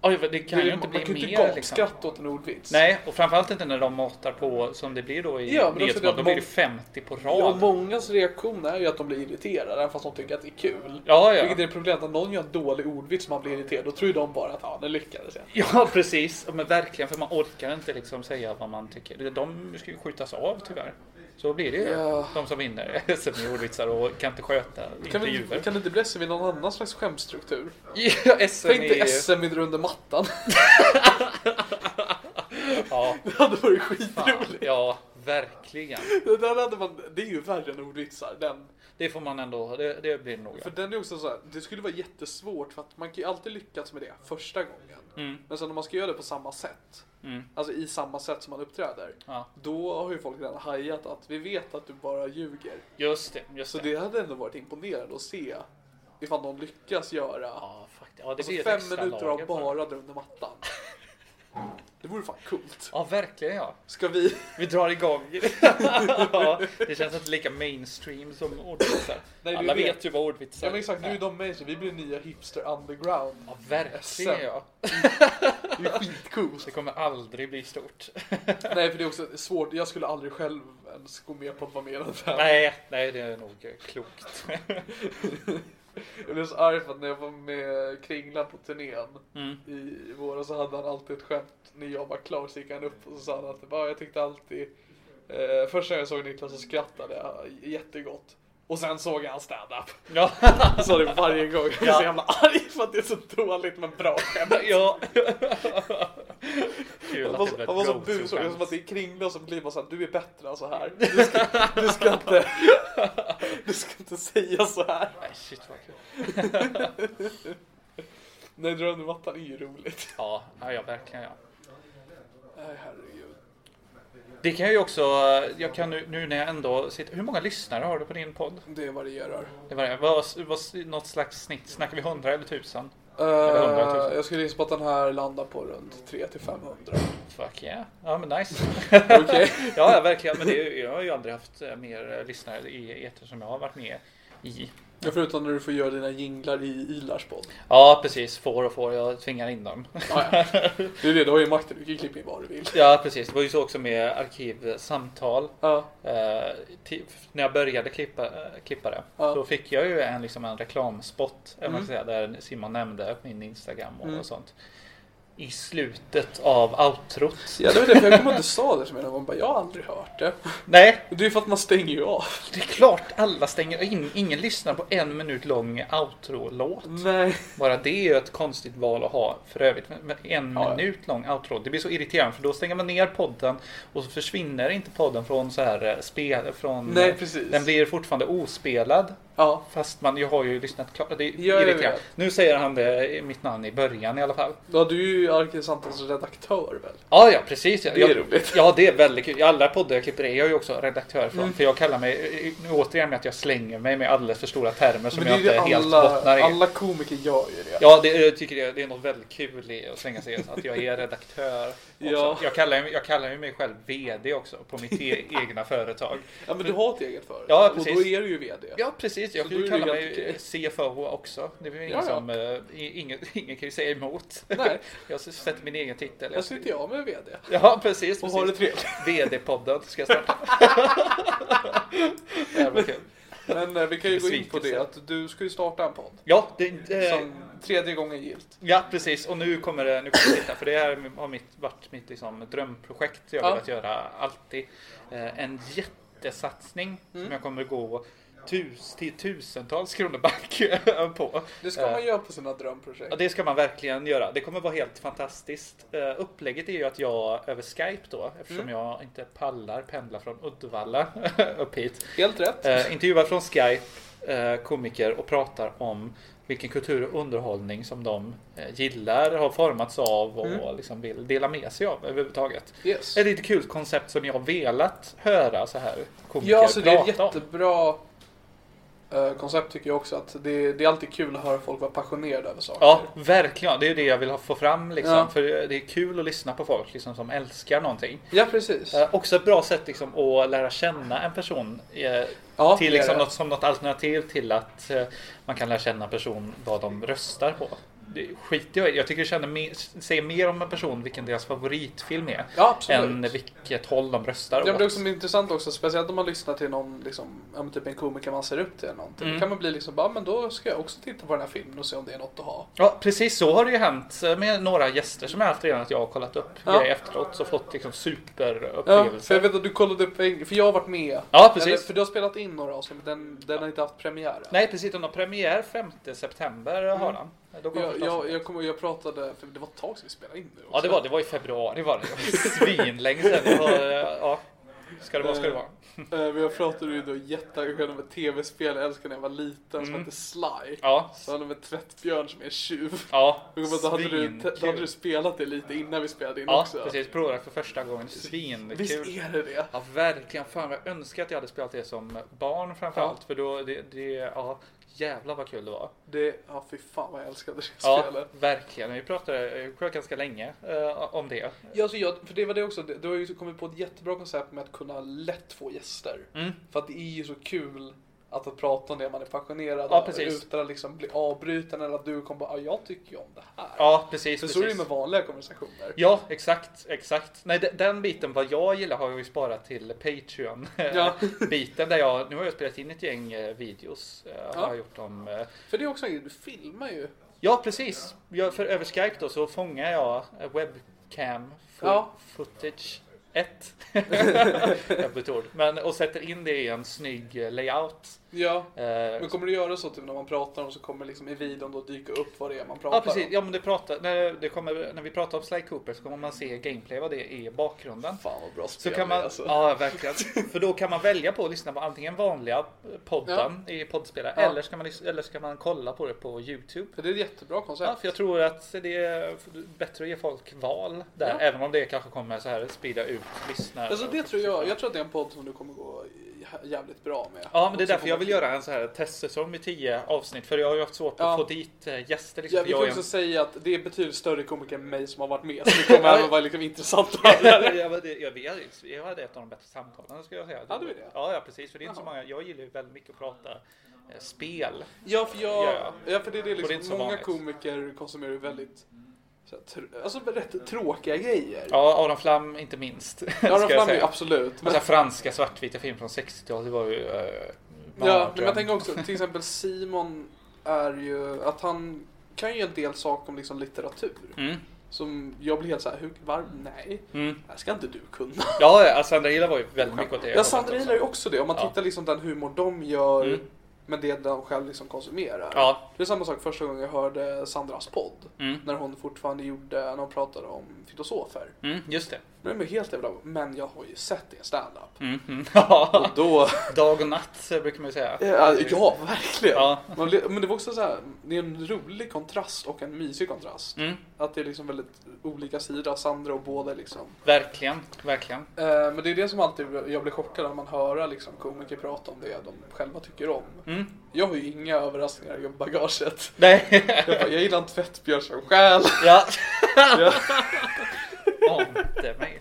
S5: Oj, det Mm. kan
S4: det,
S5: ju inte
S4: man kan
S5: bli
S4: ju inte
S5: mer liksom.
S4: gapskratta åt en ordvits.
S5: Nej, och framförallt inte när de matar på som det blir då i
S4: Ja, men
S5: ja,
S4: också det
S5: Nyhetsmorgon.
S4: att
S5: Då blir
S4: mång-
S5: det 50 på
S4: Ja, och
S5: rad.
S4: mångas reaktion är ju att de blir irriterade, även fast de tycker att det är kul.
S5: Ja, ja.
S4: Vilket är problemet, när någon gör en dålig ordvits som man blir irriterad, då tror ju de bara att ja, den lyckades jag.
S5: Ja, precis. Ja, Men verkligen, för man orkar inte liksom säga vad man tycker. De ska ju skjutas av tyvärr. Så blir det ju.
S4: Ja.
S5: De som vinner SM i ordvitsar och kan inte sköta
S4: Kan, vi,
S5: intervjuer.
S4: kan det inte bli SM i någon annan slags skämtstruktur?
S5: Ja, E- SM
S4: Tänk
S5: är...
S4: dig SM i under mattan. E-
S5: Ja,
S4: Det hade varit
S5: fan.
S4: skitroligt.
S5: ja, verkligen.
S4: Det där hade man, det är ju värre än ordvitsar. Den,
S5: Det får man ändå, det, det blir nog.
S4: för den är också så här, det skulle vara jättesvårt för att man kan ju alltid lyckas med det första gången.
S5: Mm.
S4: Men sen om man ska göra det på samma sätt, alltså i samma sätt som man uppträder,
S5: Ja.
S4: då har ju folk redan hajat att vi vet att du bara ljuger.
S5: Just det, just
S4: Så
S5: det.
S4: det hade ändå varit imponerande att se ifall någon lyckas göra
S5: Ja, faktiskt. Ja, det
S4: alltså
S5: blir ett
S4: fem
S5: extra
S4: minuter
S5: lager
S4: av
S5: på det.
S4: bara dra under mattan. Det vore fan coolt.
S5: Ja, verkligen ja.
S4: Ska vi?
S5: Vi drar igång. ja, det känns inte lika mainstream som ordvitsar.
S4: Nej, det
S5: Alla
S4: är det.
S5: vet ju vad ordvitsar
S4: Ja men exakt, nu är de med så vi blir nya hipster underground.
S5: Ja,
S4: SM.
S5: verkligen ja.
S4: Det är skitcoolt.
S5: Det kommer aldrig bli stort.
S4: Nej för det är också svårt, jag skulle aldrig själv ens gå med på att vara med i den här.
S5: nej, nej, det är nog klokt.
S4: Jag blev så arg för att när jag var med Kringla på turnén i våras så hade han alltid ett skämt. När jag var klar så gick han upp och så sa han att "Ja, jag tyckte alltid, eh, först när jag såg Niklas så skrattade jag jättegott. Och sen såg jag han stand-up.
S5: ja.
S4: Jag sa det varje gång. Jag blev så jävla arg för att det är så dåligt men bra skämt.
S5: ja. Kul
S4: Han
S5: att
S4: var,
S5: det
S4: så-
S5: blev
S4: han var så
S5: ett
S4: busig, det var som att
S5: go-to-skämt.
S4: det är Kringla som blir bara såhär, du är bättre än så här. Du ska, du ska inte, du ska inte säga så här.
S5: Nej, shit vad kul.
S4: Nej, dra under mattan är ju roligt.
S5: Ja, ja, ja, verkligen ja.
S4: Nej, herregud.
S5: Det kan jag ju också, jag kan nu, nu när jag ändå sitter, hur många lyssnare har du på din podd?
S4: Det varierar.
S5: Det var, vad, vad, något slags snitt, snackar vi 100 eller 1000? hundra
S4: Uh,
S5: tusen.
S4: jag skulle gissa på att den här landar på runt 300-500.
S5: Fuck yeah, ja men nice.
S4: Okej?
S5: ja, ja, verkligen, men det, är ju- jag har ju aldrig haft eh, mer eh, lyssnare i eter som jag har varit med i.
S4: Ja, Förutom när du får göra dina jinglar i Ilars podd.
S5: Ja precis, får och får, jag tvingar in dem.
S4: Ah, ja. Det är det, du har ju makten, du kan ju klippa in vad du vill.
S5: ja precis, det var ju så också med arkivsamtal.
S4: Ja,
S5: Eh, ti- när jag började klippa, eh, klippa det,
S4: Ja.
S5: då fick jag ju en, liksom en reklamspot, mm. man ska säga, där Simon nämnde min Instagram och, och sånt. I slutet av outrot.
S4: ja det var det, för jag kommer inte sa det som jag var bara, jag har aldrig hört det.
S5: Nej,
S4: Det är ju för att man stänger ju av.
S5: det är klart alla stänger in. Ingen lyssnar på en minut lång outro-låt.
S4: Nej.
S5: Bara det är ju ett konstigt val att ha för övrigt. Men- men En
S4: Ja, ja.
S5: minut lång outro. Det blir så irriterande för då stänger man ner podden och så försvinner inte podden från så här eh, spel. Från,
S4: Nej, precis.
S5: Den blir fortfarande ospelad.
S4: Ja,
S5: Fast man jag har ju lyssnat klart. Det är
S4: Ja, jag
S5: irriterande.
S4: vet.
S5: Nu säger han det, mitt namn i början i alla fall.
S4: Ja, du är ju ju Arkivsamtalets redaktör väl?
S5: Ja, ja precis. Ja.
S4: Det är
S5: Jag-
S4: roligt. Mm.
S5: Ja, det är väldigt kul. I alla poddar jag klipper är jag ju också redaktör från. För jag kallar mig, nu återigen med att jag slänger mig med alldeles för stora termer som
S4: Men
S5: jag
S4: det är
S5: inte
S4: ju
S5: helt bottnar
S4: alla,
S5: i.
S4: alla komiker gör ju det.
S5: Ja, det, jag tycker det, det är något väldigt kul i att slänga sig in, att jag är redaktör. Också.
S4: Ja.
S5: Jag, kallar, ju- jag kallar ju mig själv VD också på mitt e- egna företag.
S4: Ja men du har ett eget företag
S5: Ja,
S4: och
S5: precis.
S4: då är du ju VD.
S5: Ja, precis. Jag
S4: Så
S5: kan
S4: då
S5: ju
S4: är det
S5: kalla
S4: helt
S5: mig
S4: okej.
S5: CFO också. Det är väl ingen,
S4: Ja, ja.
S5: Som, eh, i- ingen, ingen kan ju säga emot.
S4: Nej.
S5: Jag sätter min egen titel.
S4: Där sitter jag med VD.
S5: Ja, precis.
S4: Och
S5: precis.
S4: har det trevligt.
S5: VD-podden ska jag starta. Jävla kul.
S4: Men eh, vi kan ju gå in på det
S5: Besvikelse.
S4: att du ska ju starta en podd.
S5: Ja, det, det,
S4: Som tredje gången gilt.
S5: ja, precis. Och nu kommer det, nu kommer det sitta. För det här har mitt, varit mitt liksom, drömprojekt jag har
S4: Ja.
S5: velat göra alltid. Eh, en jättesatsning som jag kommer gå tus, till tusentals kronor back på.
S4: Det ska
S5: Eh,
S4: man göra på sina drömprojekt.
S5: Ja, det ska man verkligen göra. Det kommer vara helt fantastiskt. Eh, Upplägget är ju att jag över Skype då, eftersom jag inte pallar pendla från Uddevalla upp hit.
S4: Helt rätt.
S5: Eh, intervjuar från Skype eh, komiker och pratar om vilken kultur och underhållning som de eh, gillar, har formats av och
S4: Mm.
S5: liksom vill dela med sig av överhuvudtaget.
S4: Yes.
S5: Ett lite kul koncept som jag har velat höra så här komiker
S4: Ja, så det är ett
S5: prata om.
S4: jättebra eh, koncept tycker jag också. Att det, det är alltid kul att höra folk vara passionerade över saker.
S5: Ja, verkligen. Det är ju det jag vill ha- få fram liksom.
S4: Ja.
S5: För det är kul att lyssna på folk liksom, som älskar någonting.
S4: Ja, precis.
S5: Eh, också ett bra sätt liksom, att lära känna en person eh,
S4: Ja, det är
S5: till, liksom,
S4: det.
S5: något, som något alternativ till att eh, man kan lära känna en person vad de röstar på. Det skiter jag i. Jag tycker det känner mer, säger mer om en person vilken deras favoritfilm är
S4: Ja, absolut.
S5: än vilket håll de röstar
S4: Ja, men det är
S5: åt.
S4: också intressant också, speciellt om man lyssnar till någon, liksom, ja, men typ en komiker man ser upp till eller någonting. Då
S5: Mm.
S4: kan man bli liksom, bara, men då ska jag också titta på den här filmen och se om det är något att ha.
S5: Ja, precis så har det ju hänt eh, med några gäster som jag haft redan att jag har kollat upp
S4: Ja.
S5: grejer efteråt och fått liksom,
S4: Ja, för jag
S5: superupplevelser.
S4: vet att du kollade upp, en- för jag har varit med.
S5: Ja, precis.
S4: för du har spelat in några avsnitt, men den, den har inte haft premiär än.
S5: Nej, precis. Den har premiär 5 september eh, har
S4: Mm.
S5: han. Då kommer
S4: Jag,
S5: första
S4: jag, jag, kommer, jag pratade, för det var ett tag sedan vi spelade in nu också.
S5: Ja det var det, var i februari var det. Svinlänge sedan. Det var, eh, ja. Ska det vara, ska det vara.
S4: Eh, Men jag pratade ju då jätteengagerad om ett tv-spel jag älskade när jag var liten som hette Sly.
S5: Mm. Ja.
S4: Så hade de en tvättbjörn som är en tjuv.
S5: Ja,
S4: Jag kommer ihåg att Då hade, du,
S5: svinkul.
S4: då hade du spelat det lite innan vi spelade in
S5: Ja,
S4: också.
S5: precis. Provade för första gången.
S4: Visst
S5: Svinkul.
S4: är det det?
S5: Ja, verkligen. Fan, jag önskar att jag hade spelat det som barn framförallt. För då, det, det, ja, jävlar vad kul det var.
S4: det? Ja, fy fan vad jag älskade det
S5: Ja,
S4: spelet.
S5: verkligen. Vi pratade jag tror, ganska länge eh, om det.
S4: Ja, alltså jag, för det var det också, det- du har ju kommit på ett jättebra koncept med att kunna lätt få gäster.
S5: Mm.
S4: För att det är ju så kul att, att prata om det man är passionerad
S5: Ja,
S4: över,
S5: precis.
S4: utan att liksom bli avbruten eller att du kommer bara, "Ah, jag tycker ju om det här.
S5: Ja, precis.
S4: för
S5: precis.
S4: så är det ju med vanliga konversationer.
S5: Ja, exakt, exakt. Nej, de- den biten vad jag gillar har jag ju sparat till Patreon-biten
S4: Ja.
S5: där jag, nu har jag spelat in ett gäng eh, videos. eh, Har
S4: Ja.
S5: jag gjort om, eh,
S4: För det är också en grej, du filmar ju.
S5: ja, precis. Jag, för över Skype då så fångar jag eh, webcam fo-
S4: Ja.
S5: footage 1. Jobbigt ord. Men, och sätter in det i en snygg eh, layout.
S4: Ja.
S5: Eh,
S4: Men kommer du göra så typ när man pratar om så kommer liksom i videon då dyka upp vad det är man pratar
S5: Ja precis,
S4: om?
S5: ja, men det pratar, när, det kommer, när vi pratar om Sly Cooper så kommer man se gameplay vad det är i bakgrunden.
S4: Fan vad bra
S5: Så kan man,
S4: alltså.
S5: ja verkligen. För då kan man välja på att lyssna på antingen vanliga podden i poddspelare
S4: Ja.
S5: eller, ska man, lys- eller ska man kolla på det på Youtube.
S4: För det är ett jättebra koncept.
S5: Ja, för jag tror att det är bättre att ge folk val där,
S4: Ja.
S5: även om det kanske kommer så här sprida ut lyssnare.
S4: Alltså det tror jag, jag tror att det är en podd som du kommer gå jä- jävligt bra med.
S5: Ja, men det är
S4: Och så
S5: därför jag
S4: kommer-
S5: vill göra en så här testsäsong med 10 avsnitt för jag har ju haft svårt
S4: Ja.
S5: att få dit eh, gäster. Liksom.
S4: Ja, vi
S5: Jag
S4: kan
S5: är en-
S4: också säga att det är betydligt större komiker än mig som har varit med. Så det kommer även vara liksom intressant att höra.
S5: jag, var- jag, vi hade, jag hade ett av de bättre samtalen skulle jag säga.
S4: Hade vi det?
S5: Ja, ja precis. För det är inte så många. Jag gillar ju väldigt mycket att prata eh, spel.
S4: Ja, för jag,
S5: Ja,
S4: ja,
S5: ja.
S4: för det är det
S5: Och det är
S4: liksom,
S5: inte så
S4: många
S5: vanligt.
S4: komiker konsumerar ju väldigt så här, tr- Alltså rätt tråkiga grejer.
S5: Ja, Aron Flam inte minst.
S4: Ja,
S5: ska
S4: de
S5: jag
S4: flammar ju
S5: säga.
S4: absolut. Men,
S5: Alltså, franska svartvita film från 60-talet, det var ju... eh,
S4: ja, men
S5: mardröm.
S4: jag tänker också, till exempel Simon är ju, att han kan ju en del saker om liksom litteratur.
S5: Mm.
S4: Som jag blir helt såhär, hur, var, nej,
S5: Mm.
S4: det här ska inte du kunna.
S5: Ja, ja, Sandra Hiller var ju väldigt mycket åt det.
S4: Ja, Sandra gillar ju också det. Om man
S5: Ja. Mm.
S4: tittar liksom den humor de gör. med det de själv liksom konsumerar.
S5: Ja.
S4: Det är samma sak första gången jag hörde Sandras podd.
S5: Mm.
S4: När hon fortfarande gjorde, när hon pratade om filosofer.
S5: Mm, just det.
S4: Nu är man ju helt jävla, men jag har ju sett det i standup.
S5: Mm, mm. Ja.
S4: Och då,
S5: Dag och natt eh, brukar man ju säga.
S4: ja, ja verkligen.
S5: Ja.
S4: Man, blir- men det var också så här, det är en rolig kontrast och en mysig kontrast.
S5: Mm,
S4: Att det är liksom väldigt olika sidor av Sandra och båda liksom.
S5: verkligen, verkligen.
S4: Eh, Men det är det som alltid jag blir chockad när man hör liksom, komiker prata om det de själva tycker om.
S5: Mm.
S4: Jag har ju inga överraskningar i bagaget.
S5: Nej.
S4: Jag, bara, jag gillar en tvättbjörn som stjäl.
S5: Ja. Ante mig.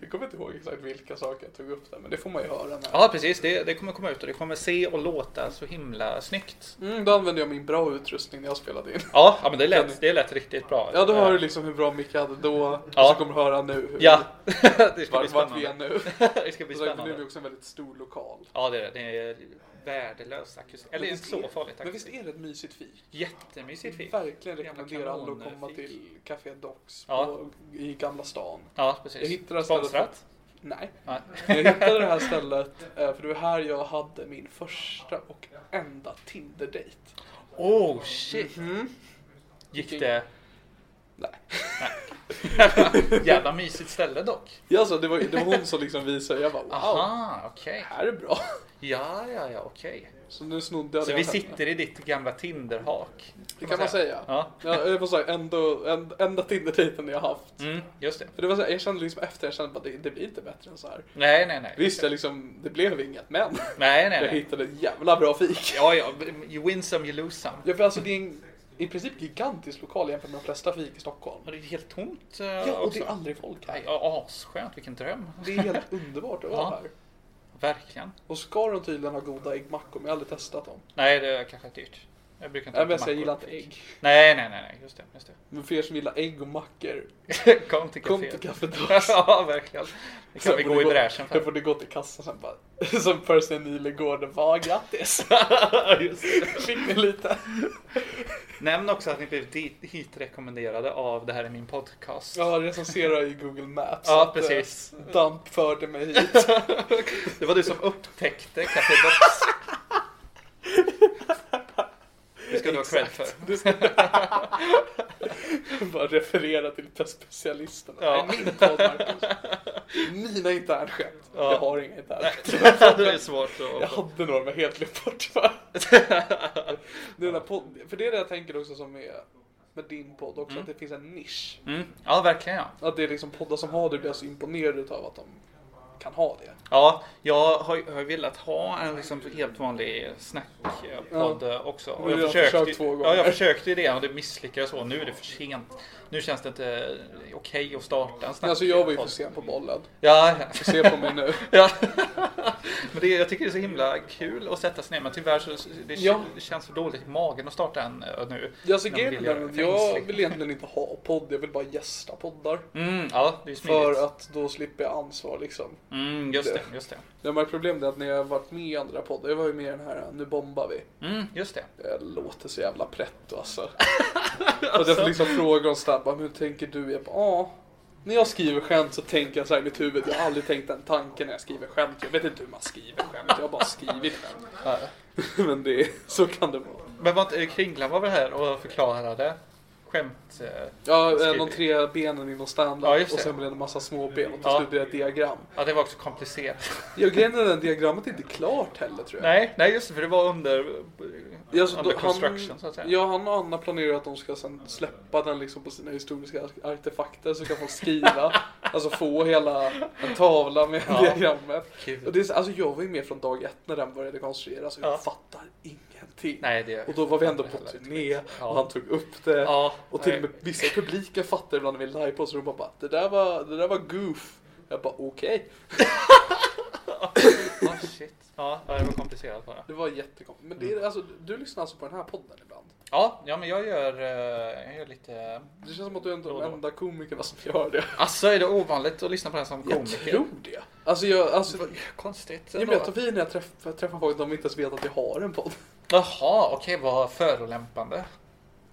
S4: Jag kommer inte ihåg exakt vilka saker jag tog upp där, men det får man ju höra. När.
S5: Ja, precis. Det, det kommer komma ut och det kommer se och låta så himla snyggt.
S4: Mm, då använde jag min bra utrustning när jag spelade in.
S5: Ja, ja men det lät, det lät riktigt bra.
S4: Ja, då hör du liksom hur bra Micke hade då,
S5: Ja.
S4: och så kommer du höra nu hur,
S5: Ja, det ska bli
S4: vart, vart vi är
S5: spännande.
S4: nu.
S5: Det ska bli
S4: Så nu är vi
S5: spännande.
S4: också en väldigt stor lokal.
S5: Ja, det är det. Det är värdelös akustik. Eller
S4: Men
S5: inte
S4: visst
S5: så
S4: är-
S5: farligt
S4: Men visst
S5: akustik.
S4: är det ett mysigt fik?
S5: Jättemysigt fik.
S4: Verkligen
S5: Jävla
S4: rekommenderar alla att komma
S5: kanonfik.
S4: till Café Dox
S5: Ja.
S4: på, i Gamla stan.
S5: Ja,
S4: Jag
S5: precis.
S4: hittade stället-
S5: Sponsrat?
S4: Nej.
S5: Nej.
S4: Men Jag hittade det här stället eh, för det var här jag hade min första och enda Tinder-dejt.
S5: Oh shit! Gick det...
S4: Nej.
S5: Jävla mysigt ställe dock.
S4: Ja, Alltså, det, var, det var hon som liksom visade. Jag bara wow,
S5: Aha, okej.
S4: det här är bra.
S5: Ja, ja, ja, okej.
S4: Så nu snodde jag
S5: Så
S4: det
S5: vi
S4: här hemma.
S5: sitter i ditt gamla Tinderhak.
S4: Det kan man säga.
S5: Ja.
S4: Ja, jag får säga ändå, en, enda Tinder-dejten jag haft.
S5: Mm, just det.
S4: För det var så här, jag kände liksom efter, jag kände bara det, det blir inte bättre än så här.
S5: Nej, nej, nej.
S4: Visst, jag liksom, det blev inget, men
S5: Nej, nej,
S4: jag
S5: nej.
S4: hittade ett jävla bra fik.
S5: Ja, ja. You win some, you lose some.
S4: Ja, för alltså, det är en i princip gigantisk lokal jämfört med de flesta fik i Stockholm.
S5: Och det är helt tomt. eh,
S4: Ja, och
S5: också.
S4: det är aldrig folk här.
S5: Nej, ja, Asskönt, vilken dröm.
S4: Det är helt underbart att vara
S5: Ja.
S4: här.
S5: Verkligen.
S4: Och ska de tydligen ha goda äggmackor, men jag har aldrig testat dem.
S5: Nej, det är kanske dyrt. Jag brukar inte
S4: Nej, men jag
S5: äta
S4: säger, jag
S5: mackor.
S4: gillar inte ägg.
S5: Nej, nej, nej, nej. Just det. Just
S4: Men för er som gillar ägg och mackor,
S5: det. Kom till
S4: kom till
S5: caféet.
S4: Café Dogs.
S5: ja, verkligen. Det kan
S4: Sen
S5: vi
S4: får
S5: gå
S4: ni
S5: i bräschen
S4: Sen
S5: för.
S4: får du gå till kassan sen bara, som Percy Nilen går, det var grattis.
S5: Just det.
S4: Fick ni lite?
S5: Nämn också att ni blev dit- hit rekommenderade av Det här är min podcast.
S4: Ja, recenserar i Google Maps.
S5: Ja,
S4: att, eh,
S5: precis.
S4: Damp förde mig hit.
S5: Det var du som upptäckte Café Box. Det ska du ha cred för.
S4: Du ska bara referera till specialisterna.
S5: Ja.
S4: Nej, min podd, Marcus. Mina internskämt.
S5: Ja.
S4: Jag har inga internskämt.
S5: Det är svårt
S4: Jag
S5: att...
S4: hade några men helt glömt bort va? Den här podd, för det är det jag tänker också som är med din podd också, att det finns en nisch.
S5: Mm. Ja, verkligen ja.
S4: Att det är liksom poddar som har det blir jag så imponerad utav att de kan ha det.
S5: Ja, jag har, har ju velat ha en liksom helt vanlig snackpodd eh, också.
S4: Men jag har försökt två gånger.
S5: Ja, jag försökte ju det och det misslyckades så. Nu är det för sent. Nu känns det inte eh, okej att starta en snackpodd.
S4: Alltså jag var ju för sen på bollen.
S5: Ja, ja.
S4: Se på mig nu.
S5: Ja. Men det, jag tycker det är så himla kul att sätta sig ner men tyvärr så det,
S4: Ja.
S5: det känns så dåligt i magen att starta en eh, nu.
S4: Alltså
S5: När man
S4: grejen är
S5: vill
S4: den
S5: göra
S4: att
S5: det.
S4: jag vill egentligen inte ha podd, jag vill bara gästa poddar.
S5: Mm, ja, det är smidigt.
S4: För att då slipper jag ansvar liksom.
S5: Mm, just det, just
S4: Det man problem är att när jag har varit med i andra poddar, jag var ju med i den här Nu bombar vi.
S5: det. Mm, just det.
S4: Jag låter så jävla pretto alltså. Och jag
S5: Alltså.
S4: får liksom fråga om sådär, bara, men hur tänker du? Jag bara, ja. När jag skriver skämt så tänker jag så här i mitt huvud. Jag har aldrig tänkt den tanken när jag skriver skämt. Jag vet inte hur man skriver skämt. Jag har bara skrivit skämt. Men det är, så kan det vara.
S5: Men var inte, Kringlan var väl här och förklarade skämt... eh,
S4: Ja, eh,
S5: Skriver.
S4: de tre benen inom standup
S5: Ja, just det.
S4: och sen blir det en massa små ben och till
S5: Ja.
S4: slut blir det ett diagram.
S5: Ja, det var också komplicerat.
S4: Ja, grejen är den diagrammet är inte klart heller tror jag.
S5: nej, nej, just det, för det var under...
S4: Ja, så
S5: under
S4: då-
S5: construction, så att säga.
S4: Ja, han och Anna planerar att de ska sen släppa den liksom på sina historiska ar- artefakter så kan folk skriva, alltså få hela en tavla med
S5: Ja.
S4: diagrammet.
S5: Kul.
S4: Och det är, så- alltså jag var ju med från dag ett när den började konstrueras och jag
S5: Ja.
S4: fattar ingenting.
S5: Nej, det...
S4: Och då var vi ändå på
S5: Heller.
S4: turné
S5: Ja.
S4: och han tog upp det.
S5: Ja,
S4: och till och
S5: nej.
S4: med vissa i publiken fattade ibland när vi live på så de bara, bara det där var, det där var goof. Jag bara okej.
S5: Ah, shit. Ja, ja, det var komplicerat bara.
S4: Det var jättekonstigt. Men det
S5: Mm.
S4: är, alltså, du lyssnar alltså på den här podden ibland?
S5: Ja, ja men jag gör, eh, jag gör lite...
S4: Det känns som att du är en av
S5: Då och
S4: de
S5: då.
S4: enda komikerna som gör det.
S5: Alltså är det ovanligt att lyssna på den som
S4: Jag
S5: komiker?
S4: tror det. Alltså jag, alltså,
S5: Vad Konstigt.
S4: jag blir jättefin när jag träffar, träffar folk de inte ens vet att jag har en podd.
S5: Jaha, okej, vad förolämpande.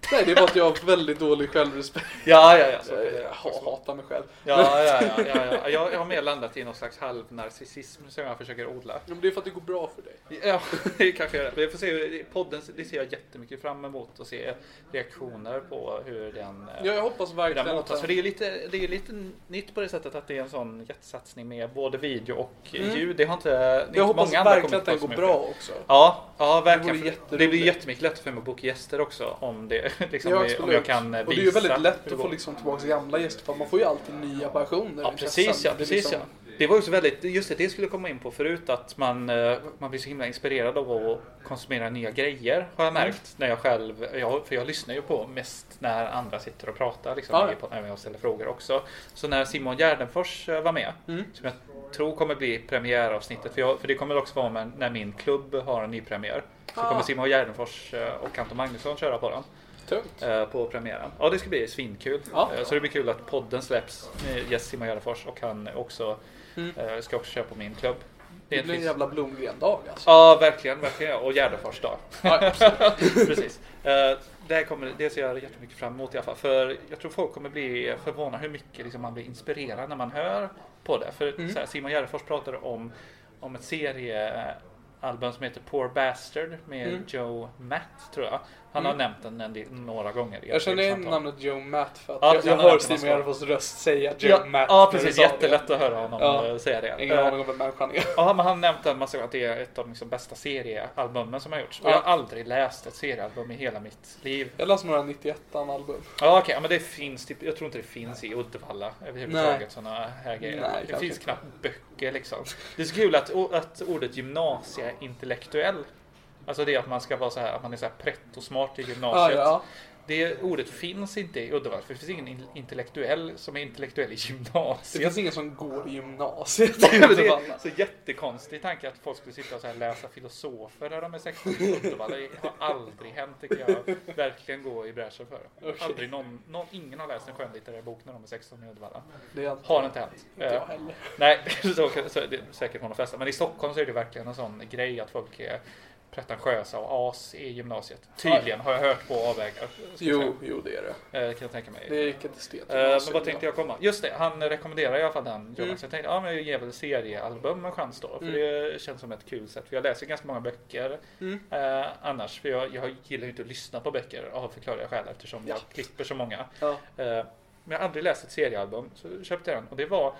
S4: Nej, det är bara att jag har väldigt dålig självrespekt.
S5: Ja, ja, ja. Så,
S4: Jag,
S5: kan det
S4: jag
S5: också vara.
S4: hatar mig själv.
S5: ja, ja, ja, ja, ja. Jag, jag har mer landat i någon slags halvnarcissism som jag försöker odla.
S4: Men det är för att det går bra för dig.
S5: Ja, det kanske är det. Vi får se. Podden, det ser jag jättemycket fram emot att se reaktioner på hur den... eh,
S4: Ja, jag hoppas
S5: hur den
S4: verkligen
S5: mottas. För det är ju lite, det är ju lite nytt på det sättet att det är en sån jättesatsning med både video och ljud. Det har inte, det är inte
S4: Mm. jag hoppas
S5: många andra
S4: verkligen
S5: kommit
S4: att den
S5: på så
S4: går
S5: mycket.
S4: bra också.
S5: Ja, ja verkligen.
S4: vore
S5: Det,
S4: jätteroligt.
S5: det blir jättemycket lättare för mig att boka gäster också om, det, liksom,
S4: Ja,
S5: om jag kan eh,
S4: absolut.
S5: visa.
S4: Och det är ju väldigt lätt
S5: hur det
S4: att få
S5: går.
S4: liksom tillbaka gamla gäster för man får ju alltid nya personer.
S5: Ja
S4: i
S5: precis
S4: pressen.
S5: ja,
S4: Det är
S5: precis
S4: liksom-
S5: ja. Det var ju så väldigt, just det, det skulle jag komma in på förut att man, eh, man blir så himla inspirerad av att konsumera nya grejer har jag
S4: Mm.
S5: märkt när jag själv, jag, för jag lyssnar ju på mest när andra sitter och pratar liksom,
S4: Ja, ja.
S5: i podden, även om jag ställer frågor också. Så när Simon Gärdenfors eh, var med,
S4: Mm.
S5: som jag tror kommer bli premiäravsnittet, för, jag, för det kommer också vara med när min klubb har en ny premiär. Så
S4: Ah.
S5: kommer Simon Gärdenfors eh, och Anton Magnusson köra på den.
S4: Tungt.
S5: Eh, på premiären. Ja, det ska bli svinkul.
S4: Ja.
S5: Eh, Så det blir kul att podden släpps. Eh, Gäst Simon Gärdenfors och han också eh, ska också köra på min klubb.
S4: Mm. Det blir en jävla Blomgren-dag alltså.
S5: Ja, verkligen, verkligen. Och Gärdenfors dag.
S4: Ja,
S5: Precis. Eh, Det, här kommer, det ser jag jättemycket fram emot i alla fall. För jag tror folk kommer bli förvånade hur mycket liksom man blir inspirerad när man hör på det. För
S4: Mm.
S5: så här, Simon Gärdenfors pratade om, om ett seriealbum som heter Poor Bastard med
S4: Mm.
S5: Joe Matt tror jag. Han har nämnt den en del, några gånger. i
S4: Jag känner igen
S5: samtal.
S4: namnet Joe Matt för att
S5: Ja,
S4: jag,
S5: det
S4: jag
S5: känner
S4: hör
S5: jag att man
S4: Simon
S5: ska.
S4: Gärdenfors röst säga Joe
S5: Ja,
S4: Matt.
S5: ja
S4: när du sa
S5: precis,
S4: det.
S5: jättelätt att höra honom
S4: Ja.
S5: eh, säga det.
S4: Ingen
S5: Eh,
S4: aning om vem människan är.
S5: Ja, men han nämnde en massa gånger att det är ett av liksom bästa seriealbumen som har gjorts. Och
S4: Ja.
S5: jag har aldrig läst ett seriealbum i hela mitt liv.
S4: Jag läste några 91an album.
S5: Ja, okej, ja, men det finns typ, jag tror inte det finns i Uddevalla
S4: Nej.
S5: överhuvudtaget sådana här grejer.
S4: Nej,
S5: det
S4: kanske
S5: finns
S4: inte.
S5: knappt böcker liksom. Det är så kul att, o- att ordet gymnasieintellektuell, alltså det att man ska vara så här, att man är så här pretto smart i
S4: Ja,
S5: gymnasiet.
S4: ja.
S5: Det ordet finns inte i Uddevalla, för det finns ingen in- intellektuell som är intellektuell i
S4: Det
S5: gymnasiet.
S4: finns ingen som går i gymnasiet.
S5: Det är
S4: det
S5: en så jättekonstig tanke att folk skulle sitta och så här läsa filosofer när de är 16 Uddevalla. Det har aldrig hänt tycker jag. Verkligen gå i bräschen för. Aldrig någon, någon, ingen har läst en skönlitterär bok när de är 16 i Uddevalla.
S4: det är inte
S5: Har inte hänt.
S4: jag
S5: Eh,
S4: heller.
S5: Nej, så, kan- så, det är säkert någon flesta. Men i Stockholm så är det verkligen en sån grej att folk är pretentiösa och as i gymnasiet. Tydligen har jag hört på avvägar. ska jag säga.
S4: Jo, jo det är det.
S5: Eh, Kan jag tänka mig.
S4: Det gick ett estet.
S5: Eh, men vad tänkte jag komma? Just det, han rekommenderar i alla fall den Jonas.
S4: Mm.
S5: Jag tänkte, ja men jag ger väl seriealbum en chans då. För det känns som ett kul sätt. För jag läser ganska många böcker
S4: Mm.
S5: eh, annars. För jag, jag gillar ju inte att lyssna på böcker av förklarliga skäl eftersom jag klipper så många.
S4: Ja.
S5: Eh, men jag har aldrig läst ett seriealbum. Så köpte jag den och det var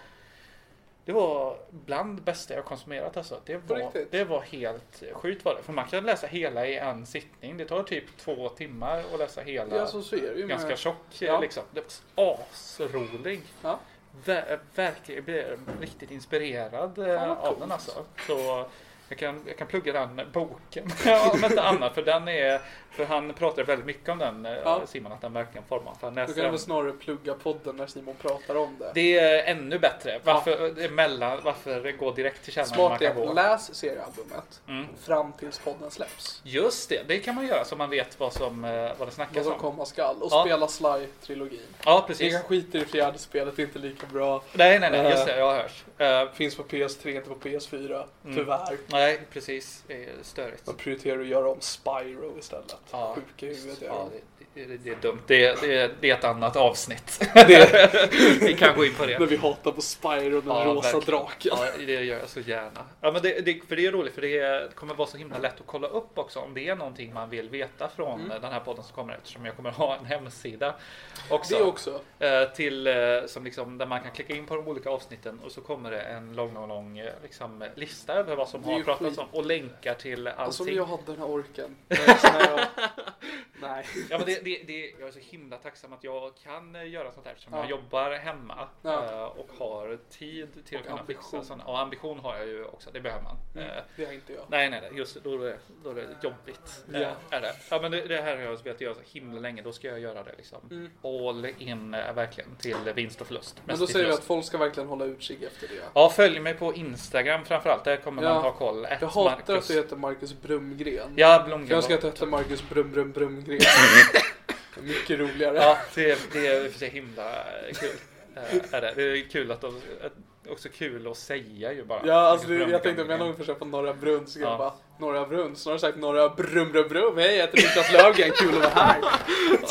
S5: det var bland det bästa jag konsumerat alltså. Det var,
S4: riktigt?
S5: det var helt sjukt var det. För man kan läsa hela i en sittning. Det tar typ två timmar att läsa hela
S4: Ja, Alltså, så så är det ju. med-
S5: ganska tjock
S4: Ja.
S5: liksom. Det var asrolig.
S4: Ja.
S5: Ver- verkligen, jag blev riktigt inspirerad eh,
S4: vad
S5: av den alltså. Så jag kan, jag kan plugga den boken. ja, om inte annat, för den är... För han pratade väldigt mycket om den, eh,
S4: Ja.
S5: Simon, att den verkligen formar. För han
S4: Då
S5: läser
S4: kan jag
S5: den.
S4: väl snarare plugga podden när Simon pratar om det.
S5: Det är ännu bättre. Varför, det är mellan, varför gå direkt till kärnan? när man
S4: Smart är
S5: kan
S4: att
S5: gå? Mm.
S4: läs seriealbumet fram tills podden släpps.
S5: Just det, det kan man göra så man vet vad, som, eh, vad det
S4: Vad
S5: snackas
S4: som
S5: om.
S4: komma skall. Och
S5: Ja.
S4: spela Sly-trilogin.
S5: Ja,
S4: Det
S5: precis.
S4: kan skita i fjärde spelet, det är inte lika bra.
S5: Nej, nej, nej,
S4: Eh.
S5: just det, jag har hört. Eh,
S4: Finns på PS3, inte på PS4.
S5: Mm.
S4: Tyvärr.
S5: nej, precis. Det är störigt.
S4: Man prioriterar att göra om Spyro istället.
S5: Ja.
S4: Sjuka i huvudet är
S5: Ja,
S4: de.
S5: det, det, det är dumt. Det, det, det är ett annat avsnitt. Vi kan gå in på
S4: När
S5: det.
S4: vi hatar på Spyro, den
S5: Ja,
S4: rosa
S5: verkligen.
S4: draken.
S5: Ja, det gör jag så gärna. Ja, men det, det, för det är roligt, för det kommer vara så himla lätt att kolla upp också om det är någonting man vill veta från
S4: Mm.
S5: den här podden som kommer eftersom jag kommer ha en hemsida också.
S4: Det också.
S5: Eh, till, eh, som liksom, där man kan klicka in på de olika avsnitten och så kommer det en lång, lång, lång eh, liksom, lista över vad som
S4: Det är
S5: har
S4: ju
S5: pratats
S4: skit.
S5: om och länkar till allting.
S4: Alltså om jag hade den här orken. Nej, så när jag- Nej.
S5: Ja, men det, det, det, jag är så himla tacksam att jag kan eh, göra sånt här eftersom
S4: Ja.
S5: jag jobbar hemma
S4: Ja.
S5: eh, och har tid till att kunna fixa
S4: ambition. Mm.
S5: sådana. Och ambition har jag ju också, det behöver man. Eh,
S4: Det är inte jag.
S5: Nej, nej, nej, just det, då är det, då är det jobbigt. eh,
S4: Ja.
S5: Är det. Ja, men det, det här har jag velat göra så himla länge, då ska jag göra det liksom. All in eh, verkligen till vinst och förlust.
S4: Mm. Men
S5: Mest
S4: då
S5: till
S4: säger vi
S5: förlust.
S4: att folk ska verkligen hålla utkik efter det.
S5: Ja, följ mig på Instagram framförallt, där kommer
S4: Ja.
S5: man ha koll. Ett
S4: Jag hatar
S5: Marcus-
S4: att det heter Marcus Brumgren.
S5: Ja, Blomgren.
S4: Jag önskar att det hette Marcus Brum Brum Brumgren. Mycket roligare.
S5: Ja, det, det är i och för sig himla kul. Eh, Är det. det är kul att de, att också kul att säga ju bara.
S4: Ja, alltså det,
S5: Vilken
S4: jag tänkte om jag
S5: drömgång.
S4: någon försöker på Norra Brunn så kan jag
S5: Ja.
S4: bara Norra Brunn, snarare sagt Norra Brum Brum Brum. Hej, jag heter Niklas Löfgren, kul att vara här.
S5: Ja,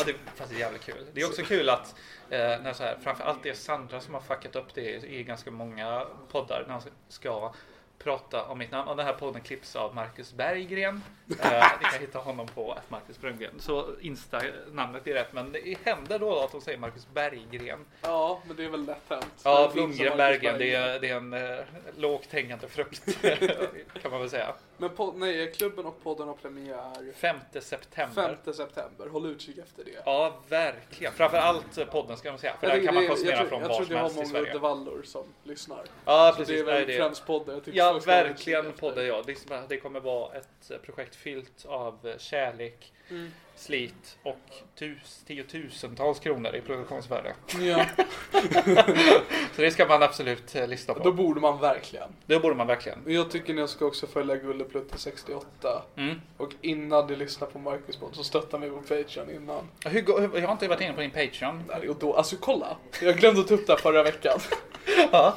S5: det är faktiskt jävligt kul. Det är också kul att eh, när så här, framförallt det är Sandra som har fuckat upp det i ganska många poddar när hon ska prata om mitt namn. Och den här podden klipps av Marcus Berggren. Eh, ni kan hitta honom på att Marcus Brunggren. Så Insta-namnet är rätt, men det händer då att hon säger Marcus Berggren.
S4: Ja, men det är väl lätt hänt.
S5: Ja,
S4: Det är flum som Marcus
S5: Blomgren Berggren, det
S4: Berggren.
S5: är, det är en eh, lågt hängande frukt kan man väl säga.
S4: Men podd, nej, klubben och podden har premiär
S5: 5 september.
S4: 5 september. Håll utkik efter det.
S5: Ja, verkligen. Framförallt podden ska man säga. För där
S4: tycker
S5: kan man
S4: det-
S5: konsumera
S4: jag tror-
S5: från var som
S4: Jag
S5: helst
S4: tror att vi
S5: i
S4: har många
S5: Sverige.
S4: Uddevallor som lyssnar.
S5: Ja,
S4: Så det
S5: precis.
S4: är
S5: Nej,
S4: väl
S5: det
S4: främst podden. Jag tycker
S5: ja,
S4: folk ska hålla utkik
S5: verkligen
S4: efter.
S5: podden. Ja. Det, är som att det kommer vara ett eh, projekt fyllt av eh, kärlek,
S4: Mm.
S5: slit och tus, tiotusentals kronor i produktionsvärde.
S4: Ja,
S5: Så det ska man absolut eh, lyssna
S4: då
S5: på.
S4: borde man verkligen.
S5: Det borde man verkligen.
S4: Men Jag tycker ni ska också följa Gulleplutta 68.
S5: Mm.
S4: Och innan ni lyssnar på Marcus podd så stötta mig på Patreon innan.
S5: Hur, går- hur, jag har inte varit inne på din Patreon.
S4: Nej, Och då, alltså kolla! Jag glömde ta upp det här förra veckan.
S5: Ja.